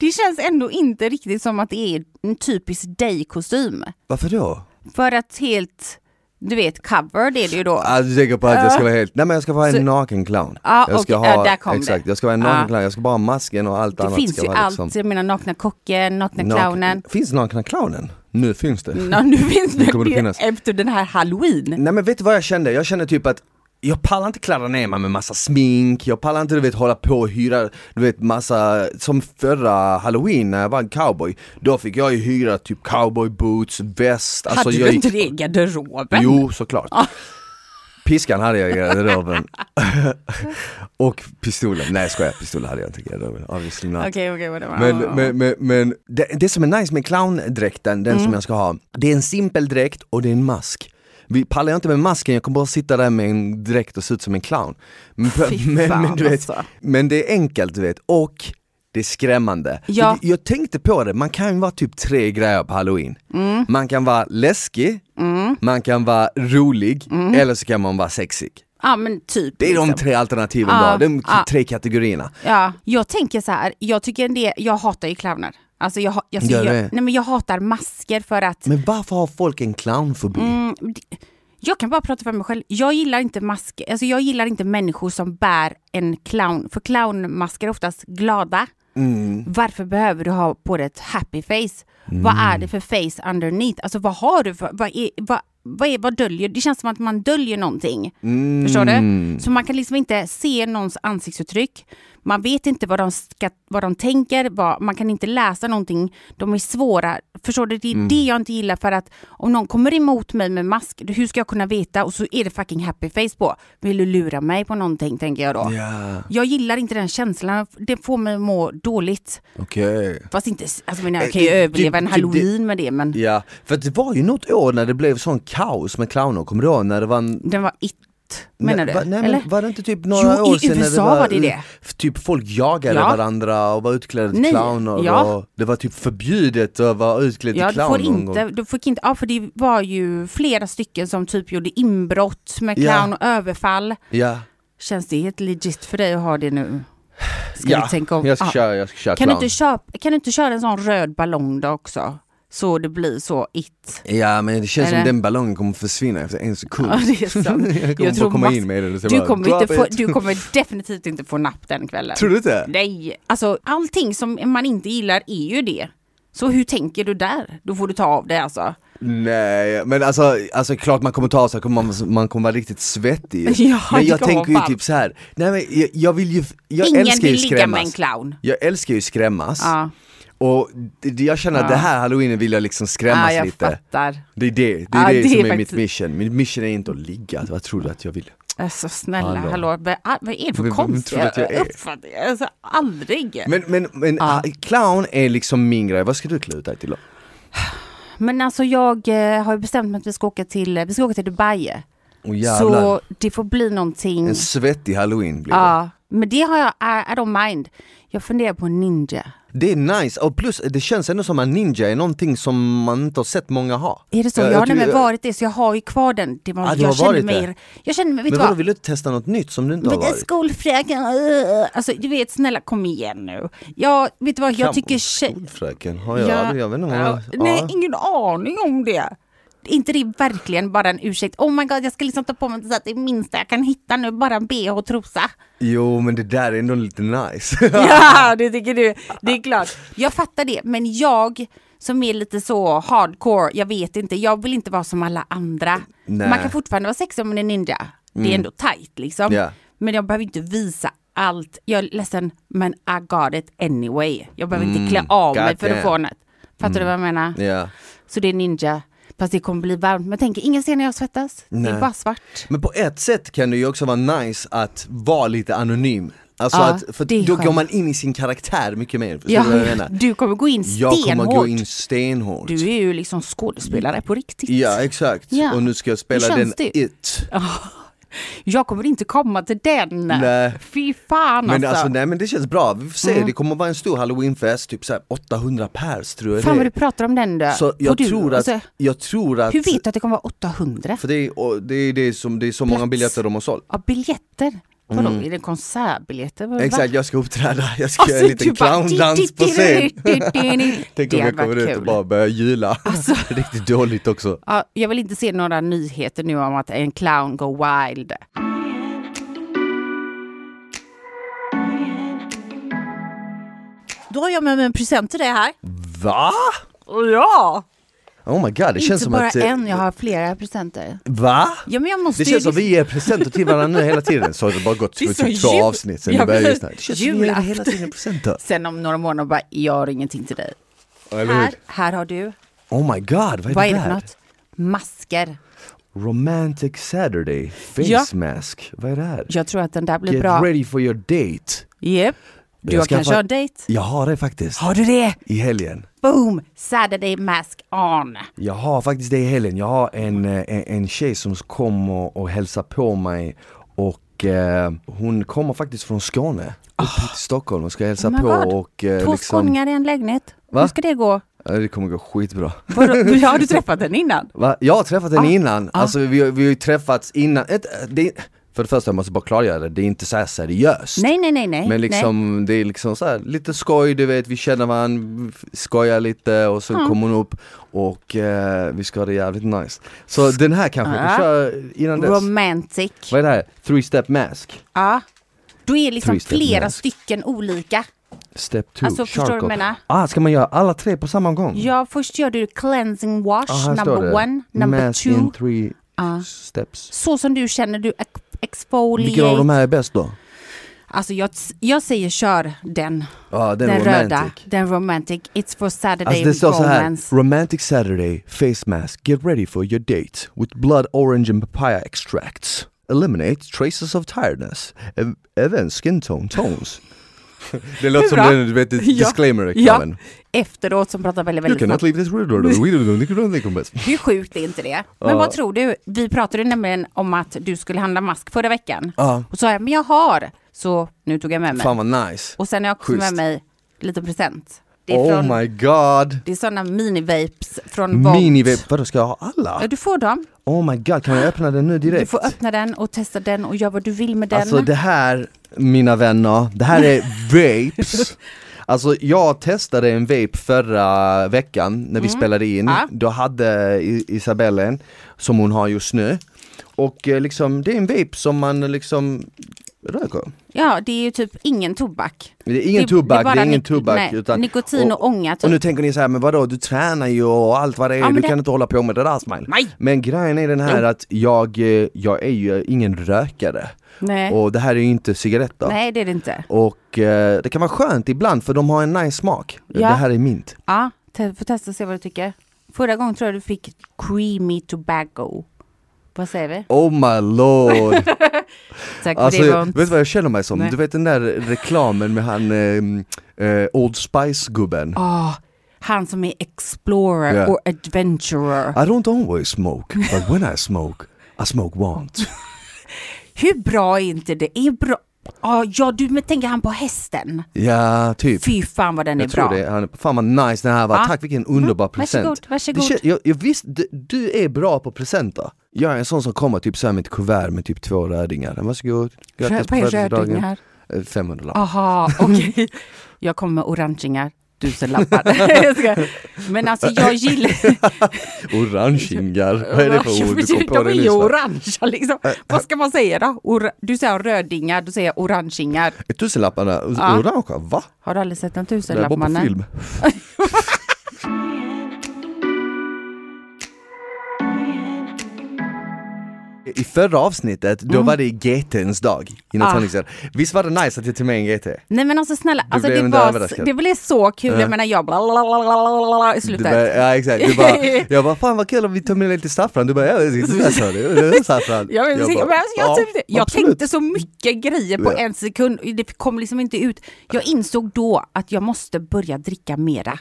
A: det känns ändå inte riktigt som att det är en typisk dig-kostym.
B: Varför då?
A: För att helt... Du vet, covered är det ju då.
B: Ah, du tänker på att jag ska vara helt, nej men jag ska vara en naken clown.
A: Ah,
B: jag ska
A: okej, ja, där kom det.
B: exakt, jag ska vara en naken
A: Ah.
B: clown, jag ska bara ha masken och allt
A: Det
B: annat
A: finns
B: ska
A: ju
B: vara liksom
A: allt. Jag menar nakna kocken, nakna clownen.
B: Finns nakna clownen? Nu finns det.
A: Nå, nu finns
B: Nu kommer det
A: det
B: finnas.
A: efter den här halloween.
B: Nej men vet du vad jag kände? Jag kände typ att jag pallar inte kladda ner mig med massa smink, jag pallar inte du vet hålla på och hyra, du vet massa, som förra halloween när jag var en cowboy, då fick jag ju hyra typ cowboy boots, väst, Alltså,
A: Hade
B: jag
A: du
B: gick-
A: inte det i garderoben?
B: Jo, såklart. Piskan hade jag i garderoben. och pistolen, nej jag skojar, pistolen hade jag inte i garderoben, obviously not.
A: Okej, okej, vad det var.
B: Men, men, men, men det, det som är nice med clowndräkten, den
A: Mm.
B: som jag ska ha, det är en simpel dräkt och det är en mask. Vi pallar jag inte med masken, jag kommer bara sitta där med en dräkt och se ut som en clown. Men,
A: Fy fan,
B: men, du vet,
A: alltså.
B: men det är enkelt du vet, och det är skrämmande.
A: Ja.
B: För det- Jag tänkte på det, man kan ju vara typ tre grejer på halloween.
A: Mm.
B: Man kan vara läskig, man kan vara rolig, eller så kan man vara sexig.
A: Ja, men typ.
B: Det är
A: Mm. liksom.
B: de tre alternativen
A: Ja,
B: då, de
A: ja.
B: tre kategorierna.
A: Ja, jag tänker så här, jag tycker en del, jag hatar ju clowner. Alltså jag, ha- jag, alltså
B: Gör
A: jag,
B: det?
A: nej men jag hatar masker för att
B: Men varför har folk en clownfobi?
A: mm, det- jag kan bara prata för mig själv. Jag gillar inte masker, alltså jag gillar inte människor som bär en clown, för clownmasker är oftast glada. Varför behöver du ha på dig ett happy face? Vad är det för face underneath? Alltså vad har du för, vad, är, vad, vad, är, vad döljer, det känns som att man döljer någonting. Förstår du? Så man kan liksom inte se någons ansiktsuttryck. Man vet inte vad de, ska, vad de tänker, vad, man kan inte läsa någonting. De är svåra. Förstår du? Det är det jag inte gillar för att om någon kommer emot mig med mask, hur ska jag kunna veta? Och så är det fucking happy face på. Vill du lura mig på någonting tänker jag då.
B: Ja,
A: Jag gillar inte den känslan, det får mig att må dåligt.
B: okej.
A: Fast inte, alltså men jag kan ju
B: Eh, eh,
A: överleva
B: typ-
A: en
B: typ
A: halloween med det men
B: Ja, för att det var ju något år när det blev sån kaos med clowner, kommer du ihåg? När det var en...
A: den var it, menar du?
B: Va, nej,
A: Eller?
B: men var det inte typ några
A: Jo, i
B: år sedan när
A: USA var det det.
B: f- Typ folk jagade
A: Ja.
B: varandra och var utklädda till
A: Nej,
B: clowner
A: ja.
B: och det var typ förbjudet att vara utklädd
A: Ja,
B: till
A: du
B: clown
A: får
B: någon gång.
A: inte, du fick inte, ja för det var ju flera stycken som typ gjorde inbrott med
B: Ja.
A: clown och överfall.
B: Ja,
A: Känns det helt legit för dig att ha det nu? Ska
B: ja.
A: du tänka om?
B: jag ska
A: Ja.
B: köra, jag ska köra
A: kan, du
B: clown.
A: inte köpa, kan du inte köra en sån röd ballong då också? så det blir så it.
B: Ja men det känns
A: Eller?
B: som den ballongen kommer försvinna efter en sekund.
A: Ja, det är sant.
B: Mm. jag kommer
A: tror
B: bara komma
A: mass-
B: in med den och så
A: Du
B: bara,
A: kommer, inte
B: drop
A: få,
B: it.
A: du kommer definitivt inte få napp den kvällen.
B: Tror du inte?
A: Nej, alltså allting som man inte gillar är ju det. Så hur tänker du där? Då får du ta av dig alltså.
B: Nej, men alltså, alltså klart man kommer ta sig, man, man kommer vara riktigt svettig.
A: Ja,
B: men jag
A: det
B: tänker ju
A: kommer.
B: typ så här. nej men jag, jag vill ju, jag
A: Ingen
B: älskar ju
A: vill ligga med en
B: skrämmas.
A: clown.
B: Jag älskar ju skrämmas.
A: Ja,
B: Och det- jag känner att det här halloweenen vill jag liksom skrämmas
A: ja jag
B: lite.
A: fattar.
B: Det är det, det är
A: Ja,
B: det,
A: det
B: som
A: är
B: är
A: faktiskt-
B: mitt mission. Mitt mission är inte att ligga, vad tror du att jag vill?
A: Alltså snälla,
B: Hallå.
A: hallå, vad äh, vad är det för
B: Vem- vem tror du
A: konstiga
B: att jag är?
A: uppfattningar? Alltså aldrig. Men,
B: Men, men, men ah,
A: Ja.
B: clown är liksom min grej, vad ska du klä ut dig till då?
A: alltså jag eh, har ju bestämt mig att vi ska åka till, vi ska åka till Dubai.
B: Åh jävlar,
A: Så det får bli någonting.
B: en svettig halloween blir det.
A: Ja, men det har jag, I, I don't mind. Jag funderar på en ninja.
B: Det är nice, och plus det känns ändå som att ninja är någonting som man inte har sett många ha.
A: Är det så?
B: Ja,
A: Jag,
B: jag
A: har
B: tror-
A: nämligen varit det, så jag har ju kvar den. Det var,
B: Ja, du har
A: jag, kände
B: varit
A: mig,
B: det.
A: jag kände mig, vet du
B: Men vadå,
A: vad?
B: vill du testa något nytt som du inte har
A: Men det är
B: varit?
A: skolfröken, uh, alltså du vet snälla kom igen nu. Jag, vet du vad, jag
B: Kan-
A: tycker tjej...
B: Skolfröken, har jag, ja. jag vet inte om jag...
A: Ja,
B: ja.
A: Nej, ingen aning om det. Är inte det verkligen bara en ursäkt? Oh my god, jag ska liksom ta på mig så att det minsta jag kan hitta nu, bara en bh och trosa.
B: Jo men det där är ändå lite nice.
A: Ja, det tycker du. Det är klart. Jag fattar det, men jag som är lite så hardcore, jag vet inte, jag vill inte vara som alla andra.
B: Nej. Mm.
A: Man kan fortfarande vara sexig om man är ninja. Det är ändå tight liksom.
B: Ja.
A: Men jag behöver inte visa allt. Jag är ledsen, men I got it anyway. Jag behöver inte
B: Mm,
A: klä av mig för att
B: goddamn.
A: få något. Fattar du vad jag menar?
B: Mm. ja.
A: Så det är ninja. Fast det kommer bli varmt. Men tänk, ingen ser när jag svettas. Det
B: Nej.
A: är bara svart.
B: Men på ett sätt kan det ju också vara nice att vara lite anonym. Alltså
A: Ja,
B: att, för
A: det är
B: då
A: skönt.
B: går man in i sin karaktär mycket mer. Förstår
A: Ja,
B: du vad jag menar?
A: du kommer gå in
B: Jag kommer gå
A: stenhårt.
B: in stenhårt.
A: Du är ju liksom skådespelare på riktigt.
B: Ja exakt,
A: Ja.
B: och nu ska jag spela
A: Hur
B: den
A: känns det?
B: it.
A: Jag kommer inte komma till den.
B: Nej.
A: Fy fan
B: Men
A: alltså. Mm.
B: alltså nej men det känns bra, vi får se, det kommer vara en stor halloweenfest, typ så här 800 pers tror jag
A: fan
B: det
A: vad
B: är.
A: du pratar om den då.
B: Så jag
A: Får du-
B: tror, att,
A: alltså,
B: jag tror att,
A: hur vet du att det kommer vara 800?
B: för det är, och det är, det är, som, det är så många
A: Plats.
B: biljetter de har sålt.
A: Ja, biljetter. Vadå, är det konsertbiljetter? Va?
B: Mm.
A: Alltså,
B: Exakt, jag ska uppträda, jag ska göra en liten
A: du bara-
B: clowndans på scen. Tänk
A: Det
B: om
A: hade
B: jag kommer
A: varit
B: ut och
A: kul. Alltså.
B: bara börjar jula. Riktigt dåligt också.
A: Ja, jag vill inte se några nyheter nu om att en clown går wild. Då har jag med mig en present till dig här.
B: Va?
A: Ja!
B: Oh my god, det känns
A: Inte
B: som
A: bara
B: att... eh,
A: en, jag har flera presenter.
B: Va?
A: Ja, men jag måste
B: Det känns
A: ju liksom
B: som att vi ger presenter till varandra hela tiden. Så har det bara gått
A: Det är
B: typ
A: så
B: två
A: jul-
B: avsnitt sen vi
A: Ja,
B: började
A: men-
B: lyssna. Det känns som att vi ger hela
A: julafton.
B: tiden presenter.
A: Sen om några månader bara, jag har ingenting till dig.
B: Eller hur?
A: Här, här har du.
B: Oh my god, vad är
A: Vad är
B: det
A: det för
B: där?
A: något? Masker.
B: Romantic Saturday, face
A: Ja.
B: mask. Vad är det här?
A: Jag tror att den där blir
B: Get
A: bra.
B: ready for your date.
A: Yep. Du
B: Jag
A: har
B: ska
A: kanske
B: fa-
A: en dejt?
B: Jag har det faktiskt.
A: Har du det?
B: I helgen.
A: Boom! Saturday mask on.
B: Jag har faktiskt det i helgen. Jag har en, eh, en, en tjej som kommer och, och hälsar på mig och eh, hon kommer faktiskt från Skåne upp till Stockholm och ska hälsa
A: Ah. Oh my
B: på
A: God.
B: och eh,
A: Två
B: liksom,
A: skåningar i en lägenhet.
B: Va?
A: Hur ska det gå?
B: Ja, Det kommer gå skitbra.
A: Vadå? Har du träffat den innan?
B: Va? Jag har träffat
A: Ah.
B: henne innan, alltså vi, har- vi har ju träffats innan. Ett, eh, det, för det första, jag måste bara klargöra det, det är inte så här seriöst.
A: Nej, nej, nej, nej.
B: Men
A: nej.
B: liksom, det är liksom så här, lite skoj, du vet, vi känner varandra, vi skojar lite och så kommer hon upp och eh, vi ska ha det jävligt nice. Så den här kanske vi
A: Ja.
B: kör innan dess.
A: Romantic.
B: Vad är det här? Three step mask?
A: Ja. Då är liksom
B: Three-step
A: flera
B: mask.
A: stycken olika.
B: Step two,
A: Alltså, förstår du vad jag
B: charcoal.
A: menar?
B: Ah, ska man göra alla tre på samma gång?
A: Ja, först gör du cleansing wash,
B: ah, här står
A: number
B: det.
A: one, number
B: mask
A: two.
B: in three steps.
A: Så som du känner, du ex-
B: Vilken av
A: exfoliate.
B: de här är bäst då?
A: Alltså jag, jag säger kör den.
B: Ja, Ah, den,
A: Den,
B: romantic.
A: röda. Den romantic. It's for Saturday
B: Alltså det står så här,
A: romance.
B: Romantic Saturday face mask, get ready for your date with blood orange and papaya extracts. Eliminate traces of tiredness, Ev- even skin tone tones. det låter som
A: bra.
B: den, du vet, disclaimer-reklamen.
A: Efteråt som pratar väldigt,
B: You
A: väldigt
B: cannot
A: snabbt.
B: leave this weird order, we don't think don't think of it.
A: Hur sjukt är inte det? Men vad tror du? Vi pratade nämligen om att du skulle handla mask förra veckan.
B: Ja.
A: Och så sa jag, men jag har. Så nu tog jag med mig.
B: Ah, Fan vad nice.
A: Och sen har jag också
B: Schysst.
A: med mig lite present. Det är,
B: Oh
A: från,
B: my god.
A: det är sådana mini-vapes från Volt.
B: Mini-vape, vadå ska jag ha alla?
A: Ja, du får dem.
B: Oh my god, kan jag öppna den nu direkt?
A: Du får öppna den och testa den Alltså, och göra vad du vill med den.
B: Alltså det här, mina vänner, det här är vapes. Alltså jag testade en vape förra veckan när vi spelade in.
A: Mm. Ja.
B: Då hade I- Isabelle en som hon har just nu. Och eh, liksom, det är en vape som man liksom röker.
A: Ja, det är ju typ ingen tobak.
B: Det är ingen
A: det,
B: tobak, det,
A: bara
B: är ingen
A: nik-
B: tobak.
A: nej,
B: utan,
A: nikotin och, ånga typ.
B: Och nu tänker ni så här, men vadå du tränar ju och allt vad det är,
A: Ja, men
B: du
A: det-
B: kan inte hålla på med det där Smile.
A: Nej.
B: Men grejen är den här att jag, eh, jag är ju ingen rökare.
A: nej.
B: Och det här är ju inte cigaretter.
A: nej, det är det inte.
B: Och eh, det kan vara skönt ibland för de har en nice smak.
A: Ja.
B: Det här är mint.
A: Ja, te- får testa och se vad du tycker. Förra gången tror jag du fick creamy tobacco. Vad säger vi?
B: Oh my lord!
A: Tack,
B: alltså,
A: det
B: jag-
A: var
B: vet
A: inte-
B: du vad jag känner mig som?
A: Nej.
B: Du vet den där reklamen med han eh, eh, Old Spice-gubben?
A: Ah, han som är explorer
B: Ja. Ah.
A: or adventurer.
B: I don't always smoke, but when I smoke, I smoke once.
A: Hur bra är inte det? Är bra? Ah, ja, du men tänker han på hästen?
B: Ja, typ.
A: Fy fan vad den
B: Jag
A: är bra.
B: tror det. Han, fan vad nice den här var.
A: Ja.
B: Tack vilken underbar
A: Mm, varsågod,
B: present.
A: varsågod.
B: Det kän- jag, jag visst, du, du är bra på presenter. Jag är en sån som kommer typ så här med ett kuvert med typ två rödingar. Varsågod, grattis på
A: Vad är röding
B: födelsedagen.
A: här?
B: Eh, 500 lapp.
A: Aha, okej. Jag kommer med orangingar, tusenlappar. Jag skojar. men alltså jag gillar...
B: Orangingar, vad är det för ord du kom på
A: De
B: det
A: är
B: nyss?
A: ju
B: va?
A: orangea liksom. Vad ska man säga då? Or- du säger rödingar, du säger orangingar.
B: Är Tusenlapparna,
A: Ja.
B: orangea, va?
A: Har du aldrig sett en
B: Det där
A: tusenlapp
B: var på
A: mannen?
B: film. I förra avsnittet, då var det GTns dag
A: Mm.
B: inom
A: Ah.
B: sanningsen. Visst var det nice att jag tog med en GT?
A: Nej men alltså snälla, alltså,
B: blev
A: det,
B: inte
A: var,
B: överraskad.
A: det blev så kul. Jag menar jag bara i
B: Du
A: slutet.
B: bara, ja exakt, du bara, jag bara fan vad kul om vi tar med lite saffran, du bara ja det är det sa du, det är saffran.
A: Jag, vill se,
B: bara,
A: men alltså, jag,
B: ja,
A: tyckte, jag
B: absolut.
A: tänkte så mycket grejer på
B: Ja.
A: en sekund. Det kom liksom inte ut. Jag insåg då att jag måste börja dricka mera.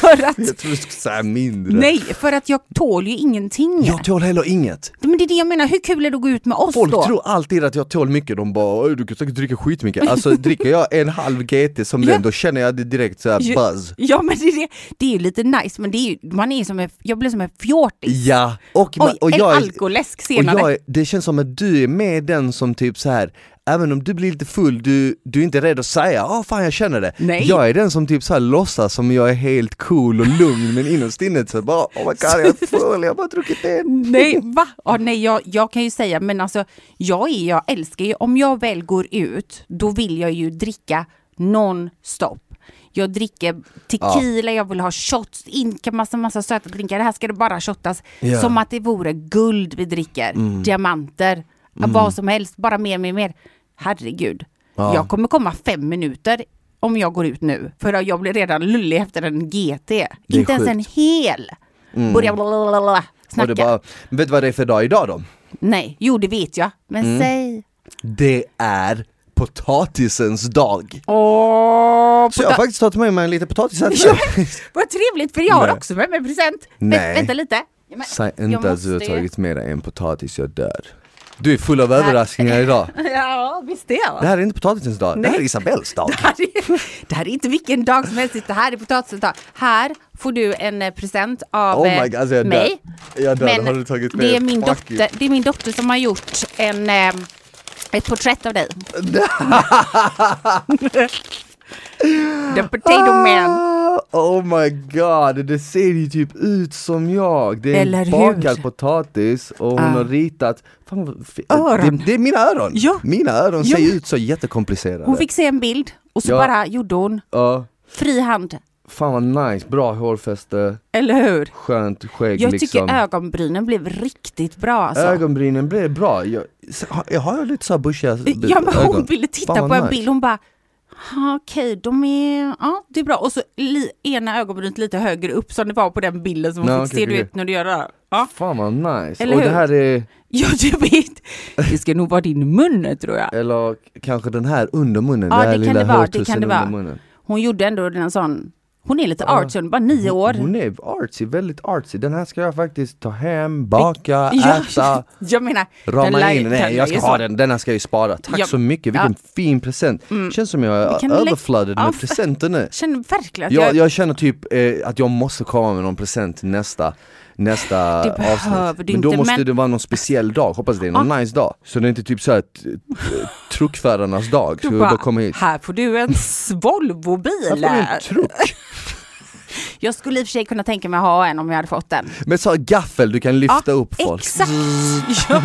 A: För att,
B: Jag trodde du skulle säga mindre.
A: nej, för att jag tål ju ingenting.
B: Jag tål heller inget.
A: Men det är det jag menar, hur kul är det att gå ut med oss
B: Folk
A: då?
B: tror alltid att jag tål mycket, de bara "Oj, du kan säkert dricka skitmycket. Alltså dricker jag en halv GT som
A: Ja.
B: den då känner jag det direkt såhär
A: Ju-
B: buzz.
A: Ja men det är, det, det är ju lite nice, men det är ju, man är som en, jag blir som en fjortis.
B: Ja, och, ma-
A: Oj,
B: och
A: en
B: jag, är-
A: alkoläsk
B: och
A: senare.
B: jag är, det känns som att du är med den som typ så här Även om du blir lite full, du, du är inte rädd att säga ah fan jag känner det.
A: Nej.
B: Jag är den som typ så här låtsas som jag är helt cool och lugn men innerst inne så bara oh my god jag är full, jag har bara druckit en.
A: Nej, va? Ja, nej, jag, jag kan ju säga, men alltså jag, är, jag älskar ju, om jag väl går ut, då vill jag ju dricka non-stop. Jag dricker tequila, jag vill ha shots, inka massa, massa söta drinkar. Det här ska det bara shottas.
B: Ja. Mm.
A: Som att det vore guld vi dricker, diamanter, vad som helst, bara mer, mer, mer. Herregud,
B: Ja.
A: jag kommer komma fem minuter om jag går ut nu, för jag blir redan lullig efter en GT. Inte ens
B: sjukt. Mm.
A: en hel. Börjar blablabla,
B: Och
A: snacka.
B: det bara, vet du vad det är för dag idag då?
A: Nej, jo det vet jag. Men
B: Mm.
A: säg.
B: Det är potatisens dag.
A: Åh,
B: Så jag har
A: pota-
B: faktiskt tagit med mig en liten potatis här idag.
A: vad trevligt för jag har
B: Nej.
A: också med mig present. Vä-
B: Nej.
A: vänta lite. Ja, men-
B: Säg
A: jag
B: inte att du har
A: måste ju-
B: tagit med dig en potatis, jag dör. Du är full av
A: här-
B: överraskningar idag.
A: Ja, visst är jag.
B: Det här är inte potatisens dag, det här är
A: Nej.
B: Isabells dag.
A: Det här, är, det här är inte vilken dag som helst, det här är potatisens dag. Här får du en eh, present av
B: Oh my
A: eh,
B: god, alltså jag dör.
A: mig.
B: Jag dör,
A: Men
B: har du tagit med
A: det är, min
B: Fuck you.
A: dotter, det är min dotter som har gjort en, eh, ett porträtt av dig. The potato man.
B: Ah, Oh my god, det ser ju typ ut som jag! Det är
A: Eller
B: en
A: hur?
B: bakad potatis och hon
A: Ah.
B: har ritat... Fan, vad fi-
A: Öron.
B: Det, det är mina öron!
A: Ja.
B: Mina öron
A: Ja.
B: ser ju ut så jättekomplicerade.
A: Hon fick se en bild och så
B: Ja.
A: bara gjorde hon
B: Ja,
A: fri hand.
B: fan vad nice, bra hårfäste,
A: Eller hur?
B: skönt skägg
A: Jag
B: liksom.
A: tycker ögonbrynen blev riktigt bra alltså.
B: Ögonbrynen blir bra. Jag, s- har- jag har lite så här bushiga b-
A: ja, men hon
B: ögon.
A: ville titta
B: Fan, vad
A: på en
B: nice.
A: bild, hon bara "Ja, Okej, de är... Ja, det är bra. Och så li, ena ögonbrynet lite högre upp som det var på den bilden som hon
B: Ja,
A: fick
B: okej,
A: se, du
B: okej.
A: vet när du gör det här. Ja,
B: Fan vad nice.
A: Eller
B: och det
A: hur?
B: här är,
A: ja jag vet. Det ska nog vara din mun tror jag.
B: eller kanske den här under munnen,
A: Ja,
B: den här
A: det kan
B: lilla
A: det vara, det
B: hårtussen
A: kan det
B: under
A: vara.
B: munnen.
A: Hon gjorde ändå en sån... Hon är lite artsy, hon är bara nio år.
B: Hon är artsy, väldigt artsy. Den här ska jag faktiskt ta hem, baka,
A: ja,
B: äta,
A: jag menar... den
B: rama
A: lär-
B: in.
A: den
B: Nej jag
A: lär ju
B: ska ha
A: så-
B: den, den här ska jag ju spara. Tack
A: Ja. Mm.
B: så mycket, vilken fin present. Känns som jag
A: Vi kan
B: är
A: lägga-
B: överflödad
A: Ja,
B: med
A: för-
B: presenter nu.
A: Känner verkligen att
B: Jag,
A: jag...
B: jag känner typ eh, att jag måste komma med någon present till nästa nästa
A: Det behöver
B: avsnitt.
A: du
B: men då
A: inte,
B: måste
A: men- Ah.
B: det vara någon speciell dag, hoppas det är någon nice dag. Så det är inte typ såhär truckförarnas dag, så
A: Du
B: vi bara kommer hit.
A: här får du en Volvobil.
B: Varför har du en truck?
A: Jag skulle i och för sig kunna tänka mig att ha en om jag hade fått den.
B: Med så här gaffel du kan lyfta upp folk.
A: Exakt! Ja,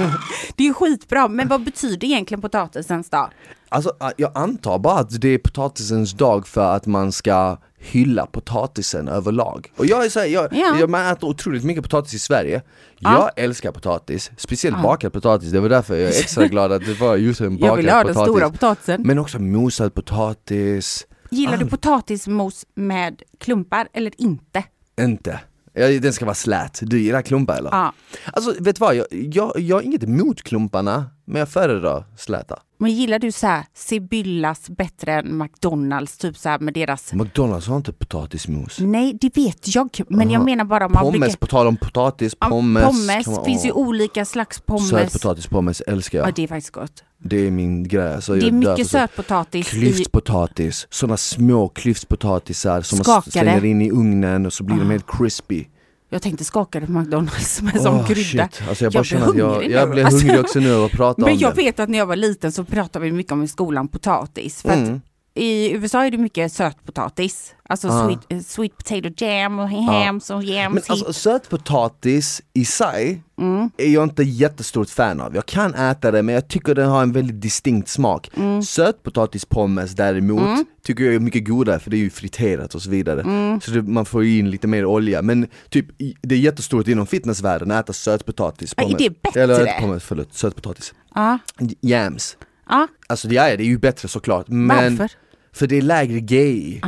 A: det är skitbra. Men vad betyder egentligen potatisens dag?
B: Alltså jag antar bara att det är potatisens dag för att man ska hylla potatisen överlag. Och jag är såhär, jag,
A: Ja.
B: jag, man äter otroligt mycket potatis i Sverige.
A: Ja.
B: Jag älskar potatis, speciellt bakad potatis, det var därför jag är extra glad att det var just en bakad
A: Jag vill ha den
B: potatis.
A: stora potatisen.
B: Men Ah. också mosad potatis,
A: Gillar du potatismos med klumpar eller inte?
B: inte. Ja, Den ska vara slät, du gillar klumpar eller?
A: Ja.
B: Alltså vet du vad, jag, jag, jag har inget emot klumparna, men jag föredrar släta.
A: Men gillar du så här Sibyllas bättre än McDonalds, typ så här med deras...
B: Mm. McDonalds har inte potatismos.
A: Nej, det vet jag. Men jag menar bara om man
B: Ah. Pommes,
A: brukar-
B: på tal om potatis,
A: Ja,
B: pommes.
A: pommes.
B: kan man- Ah.
A: finns ju
B: åh.
A: olika slags pommes.
B: Sötpotatis, pommes älskar
A: Ja,
B: jag.
A: det är faktiskt gott.
B: Det är min grej. Alltså,
A: Det är
B: jag dör
A: mycket
B: för sånt.
A: sötpotatis i...
B: Klyftpotatis, sådana små klyftpotatisar som man
A: Skakade. Ah.
B: slänger in i ugnen och så blir de helt crispy.
A: Jag tänkte skaka det på McDonalds med som
B: Åh,
A: krydda.
B: shit. Alltså, jag, bara känner att jag,
A: hungrig
B: jag
A: nu.
B: blir
A: Alltså,
B: hungrig också nu av att prata om
A: Men jag
B: det.
A: vet att när jag var liten så pratade vi mycket om i skolan potatis. För
B: Mm.
A: att i USA är det mycket sötpotatis. Alltså
B: Ja.
A: sweet, eh, sweet potato jam och hams och
B: Ah. Men
A: yams.
B: alltså sötpotatis i sig
A: Mm.
B: är jag inte jättestort fan av. Jag kan äta det men jag tycker den har en väldigt distinkt smak.
A: Mm.
B: Sötpotatispommes däremot tycker jag är mycket godare för det är ju friterat och så vidare.
A: Mm.
B: Så det, man får ju in lite mer olja. Men typ i- det är jättestort inom fitnessvärlden att äta sötpotatispommes.
A: Ja, är det bättre?
B: Eller inte pommes, förlåt, sötpotatis.
A: Ja,
B: Yams.
A: ja.
B: Alltså ja, ja, det är ju bättre såklart. Men
A: Varför?
B: För det är lägre GI.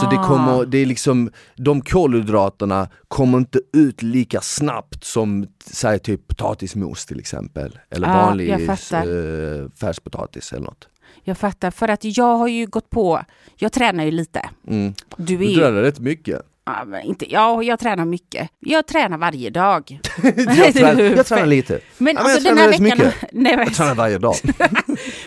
B: Så det
A: Ah.
B: kommer, det är liksom, de kolhydraterna kommer inte ut lika snabbt som säg typ potatismos till exempel. Eller
A: Ah,
B: vanlig
A: jag fattar.
B: eh, färspotatis eller något.
A: Jag fattar, för att jag har ju gått på, jag tränar ju lite. Du är
B: Mm. Du
A: ju,
B: tränar rätt mycket.
A: ja, men inte, ja, jag tränar mycket. Jag tränar varje dag.
B: jag, tränar, jag tränar lite.
A: Men,
B: Ja,
A: alltså
B: jag
A: den här
B: tränar rätt
A: veckan,
B: mycket.
A: nej, men,
B: Jag tränar varje dag.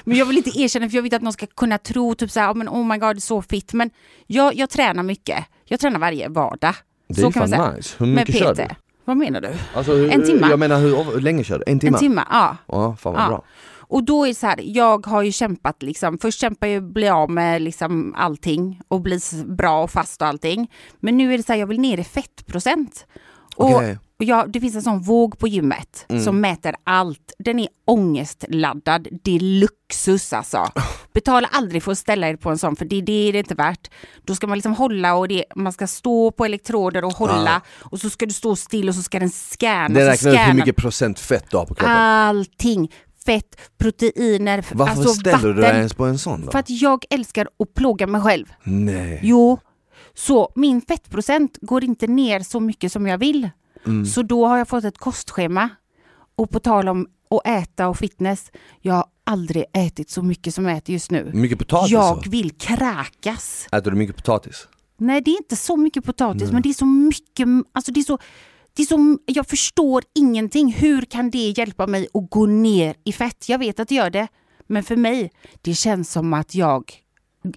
A: men jag vill inte erkänna för jag vet att någon ska kunna tro typ så här, "Ja, men oh my god, det är så fit. Men jag, jag tränar mycket. Jag tränar varje vardag.
B: Det är
A: så
B: ju
A: kan man säga.
B: fan nice. Hur
A: Med
B: mycket kör
A: PT.
B: du?
A: Vad menar du?
B: Alltså, hur-
A: En timme.
B: Jag menar hur, hur länge kör du? En timme?
A: En timme, ja.
B: Ja, fan vad
A: Ja.
B: bra.
A: Och då är det så här, jag har ju kämpat liksom, först kämpar jag bli av med liksom allting och bli s- bra och fast och allting. Men nu är det så här, jag vill ner i fettprocent. Och,
B: Okej. Mm.
A: och jag, det finns en sån våg på gymmet som mäter allt. Den är ångestladdad, det är luxus alltså. Betala aldrig för att ställa er på en sån för det, det är det inte värt. Då ska man liksom hålla och det, man ska stå på elektroder och hålla och så ska du stå still och så ska den scanna. Ah,
B: Den
A: så
B: räknar ut hur
A: scannar-
B: mycket procent fett du har på kroppen.
A: Allting. Fett, proteiner, f-
B: Varför
A: alltså
B: ställer
A: vatten.
B: du dig ens på en sån Mm. då?
A: För att jag älskar att plåga mig själv.
B: Nej.
A: Jo, så min fettprocent går inte ner så mycket som jag vill.
B: Mm.
A: Så då har jag fått ett kostschema. Och på tal om att äta och fitness, jag har aldrig ätit så mycket som jag äter just nu.
B: Mycket potatis
A: jag
B: så.
A: vill kräkas.
B: Äter du mycket potatis?
A: Nej, det är inte så mycket potatis, men det är så mycket, alltså det är så, det är så, jag förstår ingenting. Hur kan det hjälpa mig att gå ner i fett? Jag vet att det gör det, men för mig, det känns som att jag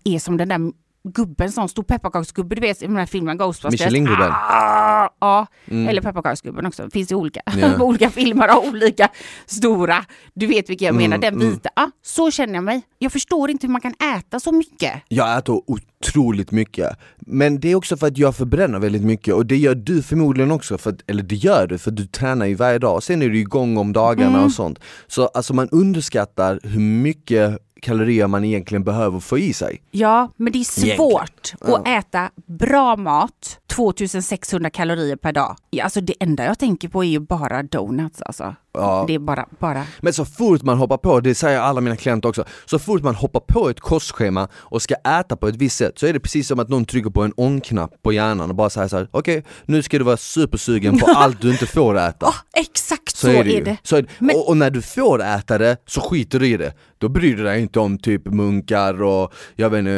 A: är som den där gubben, sån stor pepparkaksgubbe, du vet i den här filmen Ghostbusters.
B: Michelin-gubben. Mm.
A: Ah, ja, eller pepparkaksgubben också, finns det olika.
B: Ja.
A: olika filmer har olika stora, du vet vilka
B: Mm,
A: jag menar, den vita. Ah, så känner jag mig. Jag förstår inte hur man kan äta så mycket.
B: Jag äter otroligt mycket, men det är också för att jag förbränner väldigt mycket och det gör du förmodligen också, för att, eller det gör du för du tränar ju varje dag, sen är du igång om dagarna och sånt. Så alltså man underskattar hur mycket kalorier man egentligen behöver få i sig.
A: Ja, men det är
B: Egentligen.
A: svårt att äta bra mat, 2600 kalorier per dag. Ja, Alltså det enda jag tänker på är ju bara donuts alltså. Det är bara, bara.
B: Men så fort man hoppar på, det säger alla mina klienter också, så fort man hoppar på ett kostschema och ska äta på ett visst sätt så är det precis som att någon trycker på en on-knapp på hjärnan och bara säger såhär, okej nu ska du vara supersugen på allt du inte får äta.
A: Exakt
B: Så, är det, ju. Så är det. Och, och när du får äta det så skiter du i det. Då bryr du dig inte om typ munkar och jag vet inte,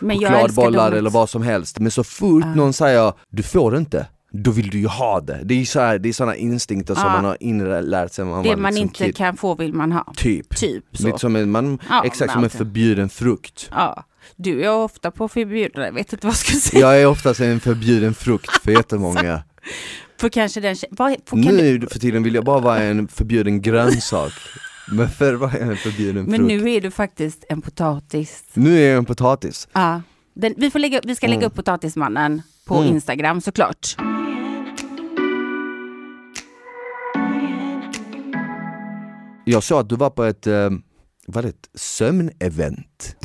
A: Men jag älskar
B: chokladbollar
A: donuts.
B: eller vad som helst. Men så fort någon säger du får inte, då vill du ju ha det. Det är ju så här, det är sådana instinkter som
A: Ja.
B: man har inlärt sig när man
A: Det
B: var
A: man
B: liksom
A: inte
B: kid.
A: kan få vill man ha.
B: Typ.
A: Typ så.
B: Lite som en, man,
A: Ja, men
B: exakt som en
A: alltid.
B: förbjuden frukt.
A: Ja. Du är ofta på förbjudare, jag vet inte vad jag ska säga.
B: Jag är oftast en förbjuden frukt för jättemånga.
A: För kanske den tje- vad, för, kan du,
B: Nu för tiden vill jag bara vara en förbjuden grönsak. Men förr var jag en förbjuden
A: Men
B: frukt. Nu...
A: nu är du faktiskt en potatis.
B: är jag en potatis.
A: Ja. Den, vi, får lägga, vi ska lägga upp potatismannen på
B: Mm.
A: Instagram såklart.
B: Jag sa att du var på ett, eh, var det ett sömnevent?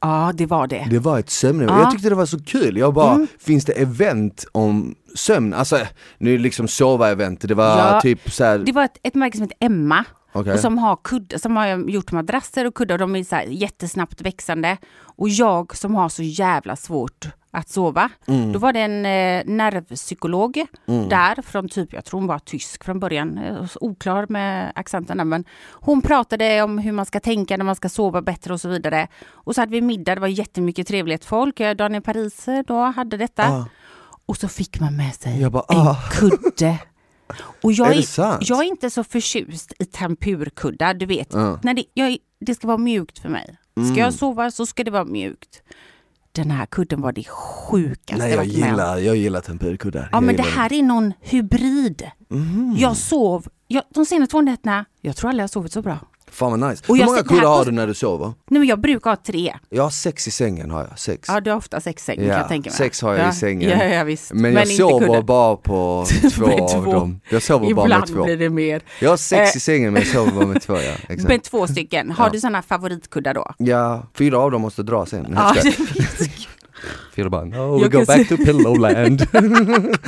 A: Ja, det var det.
B: Det var ett sömnevent,
A: Ja. Mm.
B: jag tyckte det var så kul. Jag bara, finns det event om sömn? Alltså, nu är det liksom sova-event, det var
A: Ja.
B: typ såhär,
A: Det alltså, var ett, ett märke som heter Emma.
B: Okej.
A: Och som, har kudd, som har gjort madrasser och kuddar och de är så här jättesnabbt växande. Och jag som har så jävla svårt att sova.
B: Mm.
A: Då var det en eh, nervpsykolog där från typ, jag tror hon var tysk från början, eh, oklar med accenten där, men hon pratade om hur man ska tänka när man ska sova bättre och så vidare. Och så hade vi middag, det var jättemycket trevligt folk. Eh, Daniel Pariser då hade detta.
B: Ah.
A: Och så fick man med sig
B: jag bara, ah,
A: en kudde. Och jag
B: Är
A: är,
B: det sant?
A: jag är inte så förtjust i tempurkuddar, du vet.
B: Ja. Mm.
A: När det, jag, är- det ska vara mjukt för mig. Ska jag sova så ska det vara mjukt. Den här kudden var det sjukaste
B: nej jag
A: varit med om.
B: gillar, jag gillar tempurkuddar.
A: Ja
B: Jag
A: men det
B: gillar Mhm.
A: här är någon hybrid. Jag sov, jag, de senaste två nätterna, jag tror aldrig jag har sovit så bra.
B: Fan vad nice.
A: Och
B: Hur
A: jag
B: många
A: sitter här
B: kuddar har
A: på-
B: du när du sover?
A: Nej men jag brukar ha tre.
B: Jag har sex i sängen har jag, sex.
A: Ja du har ofta sex sängar
B: Ja,
A: kan jag tänka mig.
B: sex har jag i
A: ja.
B: sängen.
A: Ja, ja, visst.
B: Men jag
A: inte
B: sover
A: kudden.
B: bara på
A: Med
B: två av
A: två.
B: dem. Jag sover bara med
A: Ibland
B: två.
A: blir det mer.
B: Jag har sex
A: Eh.
B: i sängen men jag sover bara med två ja. Exakt.
A: Men två stycken. Har du sådana favoritkuddar då?
B: Ja, fyra av dem måste dra sen.
A: Ja,
B: Nej, jag skojar. fyra bara, no, we
A: Jag
B: go
A: kan
B: back to pillowland.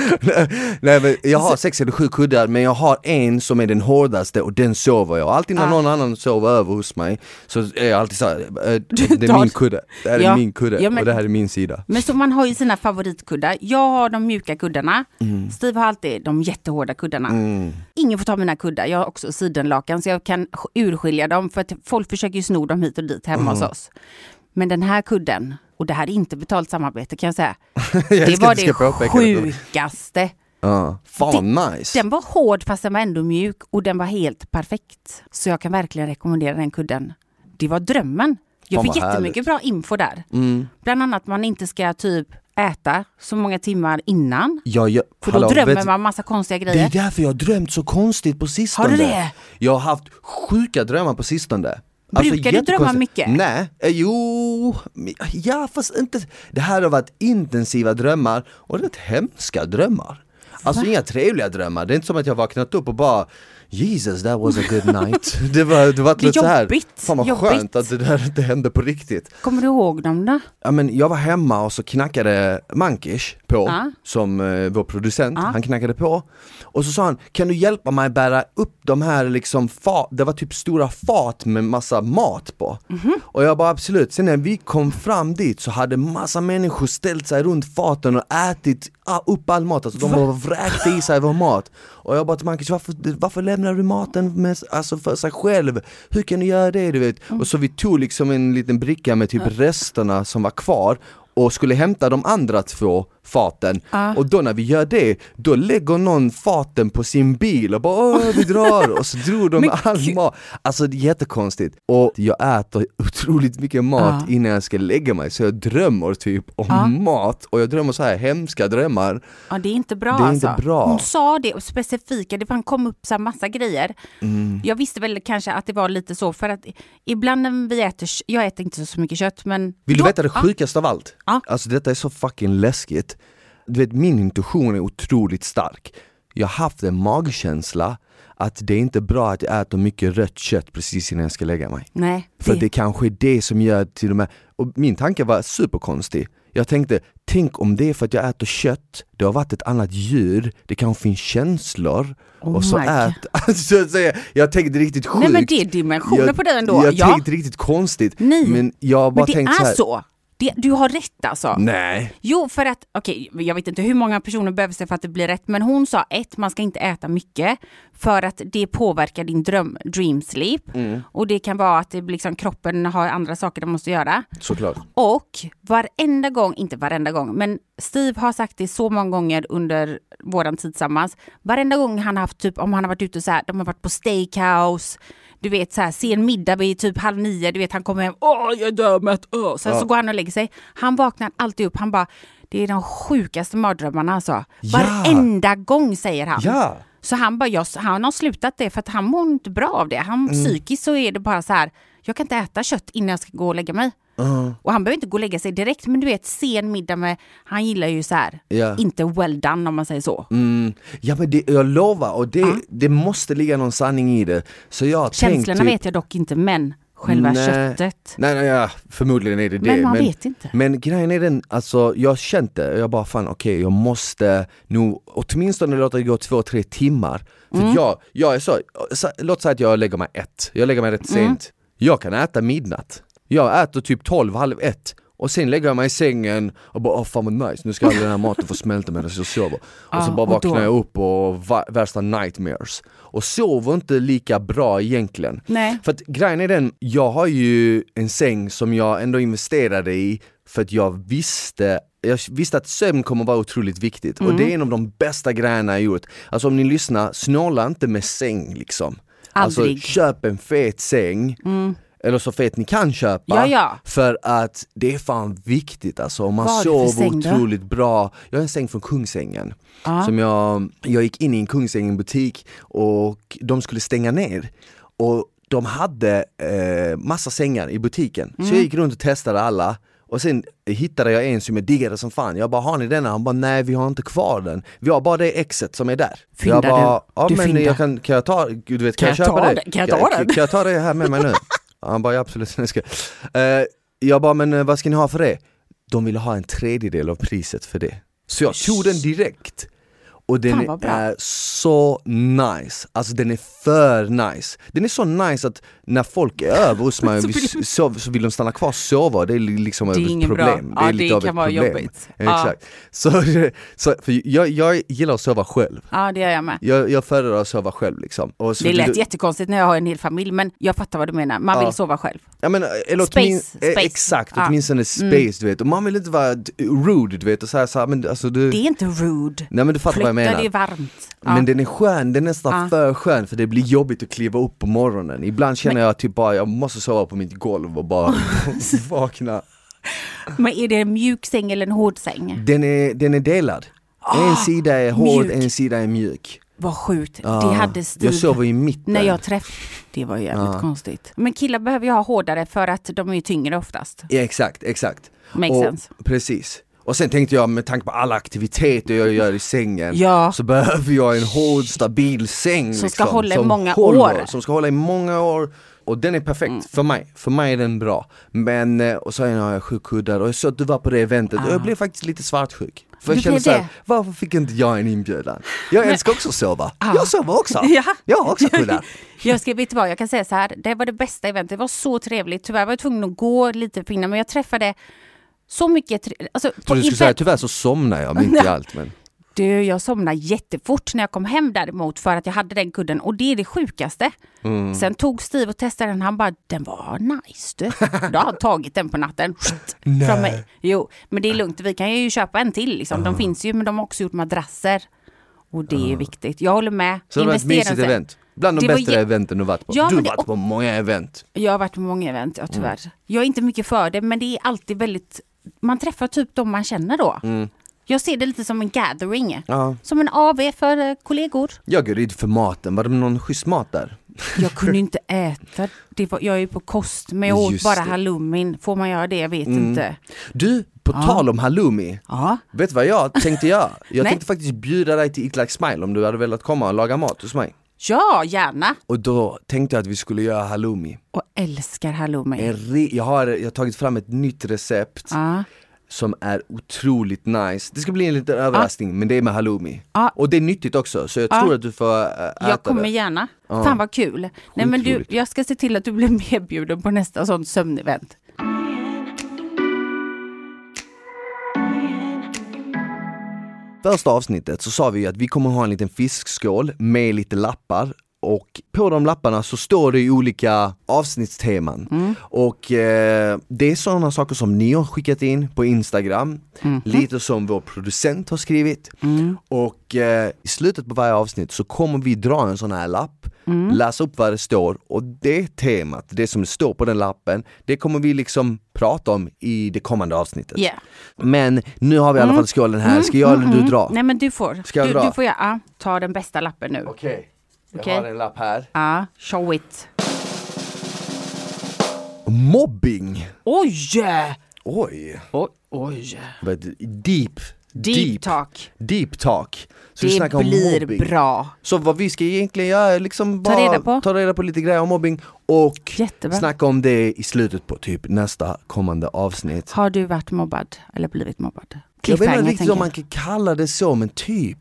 B: Nej men jag har sex eller sju kuddar men jag har en som är den hårdaste och den sover jag. Alltid när
A: Ah.
B: någon annan sover över hos mig så är jag alltid såhär, det är
A: tar-
B: min kudde, det här är
A: Ja.
B: min kudde
A: Ja, men-
B: och det här är min sida.
A: Men så man har ju sina favoritkuddar. Jag har de mjuka kuddarna.
B: Mm.
A: Steve har alltid de jättehårda kuddarna. Ingen får ta mina kuddar. Jag har också sidenlakan så jag kan sk- urskilja dem för att folk försöker ju sno dem hit och dit hemma
B: Mm.
A: hos oss. Men den här kudden, och det här är inte betalt samarbete kan jag säga.
B: Jag
A: det
B: älskar
A: var
B: att du ska
A: det
B: påpeka det.
A: sjukaste.
B: Ja. Fan vad nice.
A: Den var hård fast den var ändå mjuk och den var helt perfekt. Så jag kan verkligen rekommendera den kudden. Det var drömmen. Jag
B: Fan,
A: fick
B: vad Mm.
A: jättemycket bra info där. Bland annat man inte ska typ äta så många timmar innan.
B: Jag, jag,
A: För
B: hallå,
A: då drömmer
B: vet-
A: man massa konstiga
B: Det är
A: grejer.
B: därför jag har drömt så konstigt på sistone.
A: Eh. Har du det?
B: Jag har haft sjuka drömmar på sistone.
A: Brukar du
B: jättekonstiga-
A: drömma mycket?
B: Nej, eh, jo, men- ja fast inte. Det här har varit intensiva drömmar och rätt hemska drömmar. Alltså inga trevliga drömmar, det är inte som att jag vaknat upp och bara Jesus that was a good night. det var, det var
A: Det är
B: lite så här,
A: jobbigt,
B: fan vad
A: jobbigt.
B: skönt att det där inte hände på riktigt.
A: Kommer du ihåg dem då?
B: Ja men jag var hemma och så knackade Mankish på,
A: Ja.
B: som eh, vår producent, han knackade på Och så sa han, kan du hjälpa mig bära upp de här liksom fat, det var typ stora fat med massa mat på Och jag bara absolut, sen när vi kom fram dit så hade massa människor ställt sig runt faten och ätit ah, upp all mat, alltså de bara vräkte i sig vår mat Och jag bara till Mankish, varför, varför lämnar du maten med, alltså för sig själv? Hur kan du göra det? Du vet? Och så vi tog liksom en liten bricka med typ resterna som var kvar och skulle hämta de andra två faten och då när vi gör det, då lägger någon faten på sin bil och bara Åh, vi drar och så drog de all mat. Alltså det är jättekonstigt och jag äter otroligt mycket mat
A: Ja.
B: innan jag ska lägga mig så jag drömmer typ om mat och jag drömmer så här hemska drömmar.
A: Ja det är inte bra
B: Det är
A: alltså.
B: inte bra.
A: Hon sa det och specifika, det fan kom upp så här massa grejer.
B: Mm.
A: Jag visste väl kanske att det var lite så för att ibland när vi äter, kö- jag äter inte så mycket kött men...
B: Vill du
A: Då-
B: veta det
A: Ja.
B: sjukaste av allt?
A: Ja.
B: Alltså detta är så fucking läskigt. Du vet min intuition är otroligt stark. Jag har haft en magkänsla att det är inte bra att jag äter mycket rött kött precis innan jag ska lägga mig.
A: Nej.
B: För
A: det-
B: det kanske är det som gör till och med, och min tanke var superkonstig. Jag tänkte, tänk om det är för att jag äter kött, det har varit ett annat djur, det kanske finns känslor.
A: Oh
B: och så
A: my God.
B: äter, alltså, så jag, jag tänkte riktigt sjukt.
A: Nej men det är dimensioner på det ändå.
B: Jag
A: ja.
B: tänkte riktigt konstigt.
A: Nej.
B: Men jag bara
A: men det
B: tänkte
A: är
B: här, Mm.
A: så. Det, du har rätt alltså.
B: Nej.
A: Jo, för att, okej, jag vet inte hur många personer behöver sig för att det blir rätt, men hon sa ett, man ska inte äta mycket för att det påverkar din dröm, dream sleep.
B: Mm.
A: Och det kan vara att det, blir liksom, kroppen har andra saker den måste göra.
B: Såklart.
A: Och varenda gång, inte varenda gång, men Steve har sagt det så många gånger under våran tid tillsammans. Varenda gång han har haft typ, om han har varit ute så här, de har varit på steakhouse, du vet så här, sen middag vid typ halv nio, du vet han kommer hem, åh jag är dömätt, åh. Sen så går han och lägger sig. Han vaknar alltid upp, han bara, Det är de sjukaste mardrömmarna alltså.
B: Ja.
A: Varenda gång säger han.
B: Ja.
A: Så han bara, jag, han har slutat det för att han mår inte bra av det. Han,
B: Mm.
A: Psykiskt så är det bara så här, jag kan inte äta kött innan jag ska gå och lägga mig.
B: Uh-huh.
A: Och han behöver inte gå och lägga sig direkt, men du vet sen middag med, han gillar ju så här,
B: Ja.
A: inte well done om man säger så.
B: Mm. Ja men det, jag lovar, och det, det måste ligga någon sanning i det. Så jag har tänkt
A: Känslorna
B: typ,
A: vet jag dock inte, men själva
B: Nej.
A: köttet.
B: Nej, nej ja, förmodligen är det det.
A: Men man vet inte.
B: Men grejen är den, alltså jag har känt det, jag bara fan okej jag måste nog åtminstone låta det gå två, tre timmar. För
A: Mm.
B: jag, jag är så, så, låt säga att jag lägger mig ett, jag lägger mig rätt
A: Mm.
B: sent. Jag kan äta midnatt. Jag äter typ 12, halv ett. Och sen lägger jag mig i sängen och bara åh fan vad nice, nu ska all den här maten få smälta medan jag sover. Och så
A: Ja,
B: bara
A: och
B: vaknar
A: då-
B: jag upp och va- värsta nightmares. Och sover inte lika bra egentligen.
A: Nej.
B: För att grejen är den, jag har ju en säng som jag ändå investerade i för att jag visste jag visste att sömn kommer vara otroligt viktigt och
A: Mm.
B: det är en av de bästa grejerna jag gjort. Alltså om ni lyssnar, snåla inte med säng liksom. Alltså
A: Aldrig. Mm.
B: köp en fet säng, eller så fet ni kan köpa.
A: Ja, ja.
B: För att det är fan viktigt alltså. Om man
A: Vad har du för
B: sover
A: säng då?
B: otroligt bra. Jag har en säng från Kungsängen. Som jag, jag gick in i en Kungsängen butik och de skulle stänga ner. Och de hade eh, massa sängar i butiken. Så
A: Mm.
B: jag gick runt och testade alla. Och sen hittade jag en som jag diggade som fan. Jag bara, har ni denna? Han bara, nej vi har inte kvar den. Vi har bara det exet som är där.
A: Fyndar
B: jag bara,
A: du?
B: ja
A: Du
B: men
A: fyndar."
B: jag kan, kan jag ta, du vet, kan,
A: Kan
B: jag
A: jag
B: köpa
A: ta
B: det?
A: den? Kan jag ta den?
B: Kan jag ta det här med mig nu? Han bara, ja, absolut. Jag, ska. Eh, jag bara, men eh, vad ska ni ha för det? De ville ha en tredjedel av priset för det. Så jag tog den direkt. Och
A: Fan,
B: den
A: vad bra.
B: är så nice, alltså den är för nice. Den är så nice att när folk är över hos mig och vi
A: vill-
B: sover, så vill de stanna kvar och sova, det är li- liksom
A: Det är
B: ett
A: inget bra.
B: problem.
A: Ja,
B: är
A: det
B: lite av
A: kan
B: ett
A: vara
B: problem.
A: jobbigt. Ja.
B: Exakt. Så, så, för jag, jag gillar att sova själv.
A: Ja, det gör jag med.
B: Jag, jag föredrar att sova själv liksom. Och så
A: Det lät
B: du-
A: jättekonstigt när jag har en hel familj, men jag fattar vad du menar. Man
B: Ja.
A: vill sova själv.
B: Ja, men, eller
A: Space,
B: åtmin- eh,
A: space. Ah. Mm.
B: Exakt,
A: Ja.
B: åtminstone space du vet. Och man vill inte vara d- rude du vet och säga så här, men alltså du...
A: Det är inte rude.
B: Nej men du fattar vad jag menar.
A: det är varmt. Ja. Ah.
B: Men den är skön, den är nästan
A: Ja.
B: för skön för det blir jobbigt att kliva upp på morgonen. Ibland känner jag typ bara, jag måste sova på mitt golv och bara vakna.
A: Men är det en mjuk säng eller en hård säng?
B: Den är, den är delad. en sida är hård,
A: Ah, mjuk.
B: en sida är mjuk.
A: Vad sjukt.
B: Ja.
A: Det hade
B: jag
A: Steve
B: sover i mitten.
A: när jag träffade. Det var ju jävligt konstigt. Men killar behöver ju ha hårdare för att de är ju tyngre oftast.
B: Ja, exakt, exakt.
A: Makes
B: och,
A: sense.
B: Precis. Och sen tänkte jag med tanke på alla aktiviteter jag gör i sängen
A: Ja.
B: så behöver jag en hård stabil säng. liksom,
A: Som ska hålla i
B: som
A: många
B: håller,
A: år. Mm.
B: Som ska hålla i många år. Och den är perfekt för mig, för mig är den bra. Men, eh, och sen har jag sju kuddar och jag såg att du var på det eventet och jag blev faktiskt lite svartsjuk. För
A: Ah. Du
B: jag kände
A: blev
B: såhär,
A: det?
B: varför fick inte jag en inbjudan? Jag älskar också att sova. Jag sover också.
A: Ah. Ja.
B: Jag har också kuddar.
A: Jag ska veta vad jag kan säga så här. Det var det bästa eventet. Det var så trevligt. Tyvärr var jag tvungen att gå lite på innan, men jag träffade så mycket. Tre- alltså, på
B: Och du skulle
A: event-
B: säga, tyvärr så somnar jag mitt i allt men.
A: Du, jag somnade jättefort när jag kom hem däremot för att jag hade den kudden och det är det sjukaste.
B: Mm.
A: Sen tog Steve och testade den han bara, den var nice du. Då har han tagit den på natten.
B: Nej.
A: Från mig. Jo, men det är lugnt, vi kan ju köpa en till liksom.
B: Ah.
A: De finns ju men de har också gjort madrasser. Och det är viktigt, jag håller med.
B: Så det var ett
A: Investera
B: mysigt
A: sig.
B: event. Bland de
A: Det var
B: bästa
A: jä-
B: eventen du varit på.
A: Ja,
B: du har
A: men det-
B: varit på många event.
A: Jag har varit på många event, ja tyvärr.
B: Mm.
A: Jag är inte mycket för det, men det är alltid väldigt... Man träffar typ de man känner då. Jag ser det lite som en gathering.
B: Mm. Ja.
A: Som en AV för eh, kollegor.
B: Jag går dit för maten, var det någon schysst mat där?
A: Jag kunde inte äta. Det var, jag är ju på kost, men jag åt
B: Just
A: bara
B: det. Mm.
A: halloumin. Får man göra det? Jag vet inte.
B: Du, på tal om halloumi.
A: Ja.
B: Vet du vad jag tänkte göra? Jag
A: Nej.
B: tänkte faktiskt bjuda dig till Itlak Smile om du hade velat komma och laga mat hos mig.
A: ja, gärna.
B: Och då tänkte jag att vi skulle göra halloumi.
A: Och älskar halloumi.
B: En re- jag, har, jag har tagit fram ett nytt recept
A: Ja.
B: som är otroligt nice. Det ska bli en liten överraskning men det är med halloumi.
A: Ja.
B: Och det är nyttigt också så jag tror att du får äh, äta
A: Jag kommer
B: det.
A: gärna. Fan vad kul. Nej, men du,
B: roligt.
A: jag ska se till att du blir medbjuden på nästa sånt sömnevent.
B: Första avsnittet så sa vi att vi kommer ha en liten fiskskål med lite lappar och på de lapparna så står det ju olika avsnittsteman. Och eh, det är sådana saker som ni har skickat in på Instagram, lite som vår producent har skrivit. Och eh, i slutet på varje avsnitt så kommer vi dra en sån här lapp, läsa upp vad det står och det temat, det som står på den lappen, det kommer vi liksom prata om i det kommande avsnittet.
A: Yeah.
B: Men nu har vi i alla
A: Mm.
B: fall skålen här, ska jag eller du dra?
A: Nej men du får.
B: Ska jag
A: du,
B: dra?
A: du får ja, ja, ta den bästa lappen nu.
B: Okej, jag
A: Okej.
B: har en lapp här.
A: Ja, show it.
B: Mobbing!
A: Oj!
B: Oj,
A: Oj, oj.
B: vad deep, deep,
A: Deep, talk.
B: deep talk. Så vi
A: Det
B: snackar om
A: blir
B: mobbing.
A: bra.
B: Så vad vi ska egentligen göra är liksom
A: Ta
B: bara
A: reda på.
B: ta reda på lite grejer om mobbing och
A: Jättebra.
B: snacka om det i slutet på typ nästa kommande avsnitt.
A: Har du varit mobbad eller blivit mobbad?
B: Jag vet inte
A: Cliffhanger,
B: riktigt
A: tänker
B: om man kan kalla det så men typ.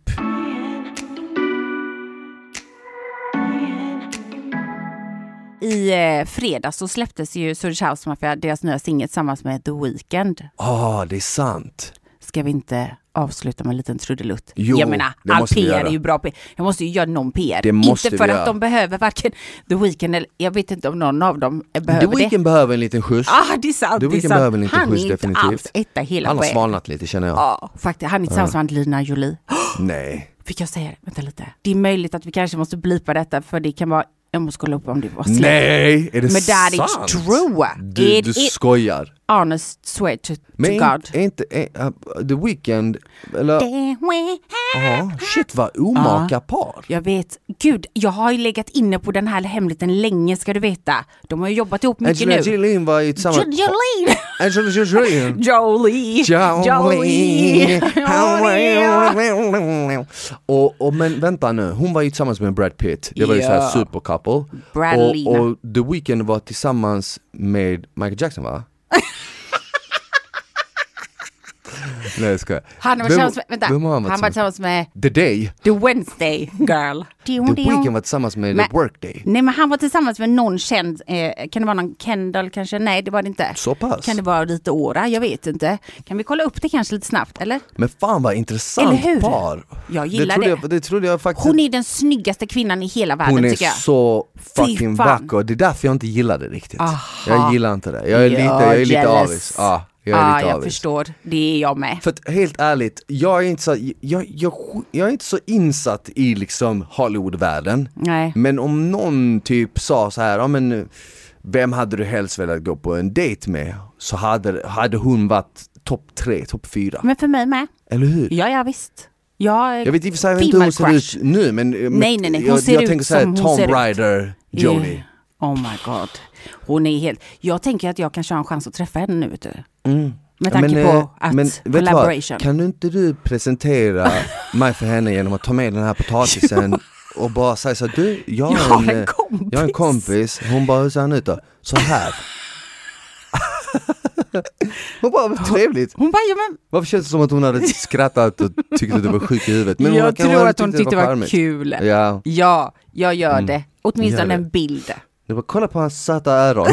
A: jag. I eh, fredags så släpptes ju Swedish House Mafia, deras nya singel tillsammans med The Weeknd.
B: Ah, det är sant.
A: Ska vi inte avsluta med en liten trudelutt?
B: Jo,
A: jag menar,
B: det
A: all
B: måste vi
A: PR
B: göra.
A: är ju bra PR. Jag måste ju göra någon PR.
B: Det måste
A: inte för
B: vi
A: att
B: göra.
A: de behöver varken The Weeknd eller, jag vet inte om någon av dem eh, behöver
B: The
A: det.
B: Weeknd behöver en liten skjuts.
A: Ah, det är sant.
B: The
A: det är
B: Weeknd
A: sant.
B: behöver en liten
A: han är
B: skjuts
A: inte
B: definitivt.
A: alls etta hela
B: Han har
A: poängen.
B: svalnat lite känner jag.
A: Ja, faktiskt. Han är tillsammans med Angelina Jolie.
B: Nej.
A: Fick jag säga det? Vänta lite. Det är möjligt att vi kanske måste blipa detta för det kan vara, jag måste kolla upp om det var släkt.
B: Nej, är det
A: Men that is
B: sant?
A: true.
B: Du,
A: It
B: du
A: is-
B: skojar.
A: Honest swear to, to
B: Men
A: God.
B: är inte, är, uh, The Weeknd, eller? Ja, shit vad omaka par.
A: Jag vet, gud, jag har ju legat inne på den här hemligheten länge ska du veta. De har ju jobbat ihop mycket
B: Angelina
A: nu.
B: Jolin var ju tillsammans...
A: Jolene!
B: Angelina Jolin!
A: Jolie!
B: Jolin!
A: Jolie!
B: Och, och men vänta nu, hon var ju tillsammans med Brad Pitt, det var ju
A: Ja.
B: såhär supercouple.
A: Bradlina.
B: Och, och The Weeknd var tillsammans med Michael Jackson va? Nej jag skojar.
A: Han var
B: Vem-
A: tillsammans med, vänta,
B: vem har
A: han var tillsammans Mm, med
B: The Day,
A: The Wednesday Girl.
B: The Weeknd var tillsammans med
A: Men-
B: The Workday.
A: Nej men han var tillsammans med någon känd, eh, kan det vara någon Kendall kanske? Nej det var det inte.
B: Så pass?
A: Kan det vara lite Ora? Jag vet inte. Kan vi kolla upp det kanske lite snabbt eller?
B: Men fan vad intressant
A: Eller hur?
B: par!
A: Jag gillar
B: trodde
A: det.
B: Jag, det trodde jag faktiskt
A: Hon är den snyggaste kvinnan i hela världen
B: Hon är
A: tycker jag.
B: så fucking
A: fan.
B: vacker, det är därför jag inte gillar det riktigt.
A: Aha.
B: Jag gillar inte det, jag är lite, jag är lite
A: jealous.
B: avis. Ja, jag är
A: ah,
B: lite
A: jag
B: avis.
A: förstår. Det är jag med.
B: För att helt ärligt, jag är inte så, jag, jag, jag är inte så insatt i liksom Hollywoodvärlden.
A: Nej.
B: Men om någon typ sa så här, ja men vem hade du helst velat gå på en dejt med? Så hade, hade hon varit topp tre, topp fyra.
A: Men för mig med.
B: Eller hur?
A: Ja, ja visst. Jag,
B: Jag vet i och för sig inte hur
A: Female
B: hon ser
A: crush.
B: ut nu men eh, men
A: Nej, nej, nej. Hon
B: jag,
A: ser
B: jag
A: ut
B: tänker så här,
A: som hon
B: Tom
A: ser ut.
B: Ryder, Joni.
A: Eh, Oh my god. Hon är helt... Jag tänker att jag kanske har en chans att träffa henne nu vet du. Med tanke
B: eh,
A: på att
B: men vet du vad?
A: collaboration.
B: Kan du inte du presentera mig för henne genom att ta med den här potatisen och bara säga så här, du, jag har,
A: Jag har en
B: eh,
A: kompis."
B: jag har en kompis, hon bara, hur ser han ut då? Så här. hon bara, vad trevligt.
A: Hon bara, ja, men
B: Varför känns det som att hon hade skrattat och tyckte att du var sjuk i huvudet? hon
A: jag
B: kan-
A: tror
B: hade
A: att hon
B: tyckt
A: tyckte det var
B: charmigt.
A: kul.
B: Ja, Mm.
A: Ja, jag gör det. Åtminstone
B: Gör det.
A: en bild.
B: du bara, kolla på hans söta öron.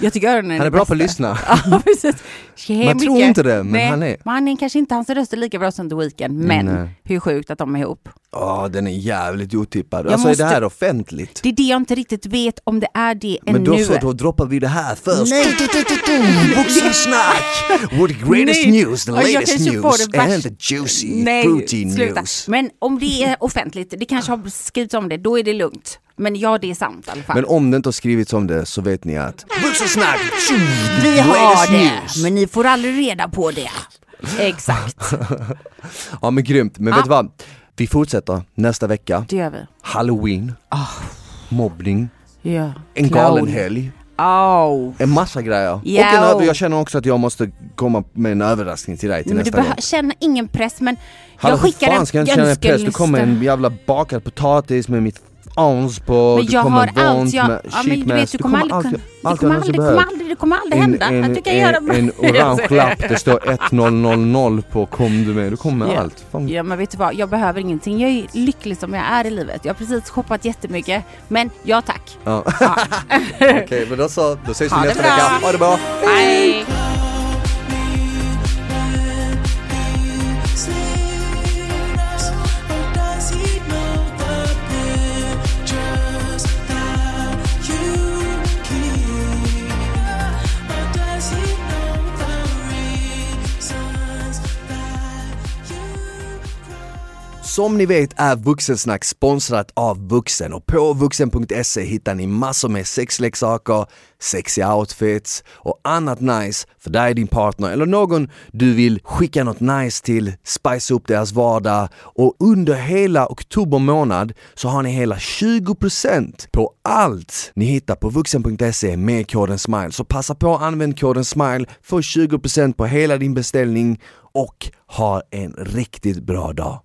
A: Jag tycker öronen är
B: Han är
A: det
B: bra på
A: bästa.
B: att lyssna.
A: Ja, precis. Tjej,
B: Mm. Man tror
A: Micke.
B: inte det, men
A: Nej,
B: han är-
A: Men han är kanske inte, hans röst är lika bra som The Weeknd, men
B: Nej.
A: hur sjukt att de är ihop.
B: Ja, den är jävligt otippad.
A: Jag
B: alltså
A: måste-
B: är det här offentligt?
A: Det är det jag inte riktigt vet om det är det
B: Men
A: ännu.
B: då så, då droppar vi det här först.
A: Nej.
B: Vuxensnack! With greatest
A: Nej.
B: news, the
A: Ja, jag
B: latest
A: kanske får
B: news
A: det värst-
B: and the juicy
A: Nej,
B: fruity
A: sluta.
B: news.
A: Men om det är offentligt, det kanske har skrivits om det, då är det lugnt. Men ja, det är sant i alla fall.
B: Men om det inte har skrivits om det så vet ni att Vuxensnack!
A: vi har
B: latest
A: det,
B: news.
A: men ni får aldrig reda på det. Exakt,
B: Ja men grymt, men vet du vad? Vi fortsätter nästa vecka.
A: det gör vi.
B: Halloween, mobbning,
A: Ja.
B: en
A: Ah. Clown.
B: galen helg,
A: Au.
B: en massa grejer.
A: Ja.
B: Och en över, jag känner också att jag måste komma med en överraskning till dig till
A: Men du
B: nästa gång.
A: behöver känna ingen press, men
B: Hallå,
A: jag skickar
B: hur fan ska jag inte känna en press? Du kommer
A: önskelista.
B: en jävla bakad potatis med mitt ans på,
A: Men
B: du
A: jag
B: kommer
A: har
B: en
A: allt,
B: vont
A: jag,
B: med
A: ja, men du vet,
B: sheetmask,
A: du kommer aldrig
B: alltid-
A: kunna, det
B: allt
A: kommer
B: annat du
A: aldrig, det kommer
B: behöver.
A: aldrig, det kommer aldrig hända att du kan
B: en,
A: göra
B: en orange lapp, det står 1000 på kom du med, du kommer med
A: Ja.
B: allt. Fan.
A: Ja men vet du vad, jag behöver ingenting. Jag är lycklig som jag är i livet. Jag har precis shoppat jättemycket. Men ja tack.
B: Ja. Okej, men då så, då ses vi
A: Ha det
B: nästa
A: bra.
B: vecka. Ha det bra!
A: Hej!
C: Does he know the
B: Som ni vet är Vuxensnack sponsrat av Vuxen och på vuxen.se hittar ni massor med sexleksaker, sexiga outfits och annat nice för dig, din partner eller någon du vill skicka något nice till, spice upp deras vardag och under hela oktober månad så har ni hela 20% på allt ni hittar på vuxen.se med koden SMILE. Så passa på att använda koden SMILE, få 20% på hela din beställning och ha en riktigt bra dag.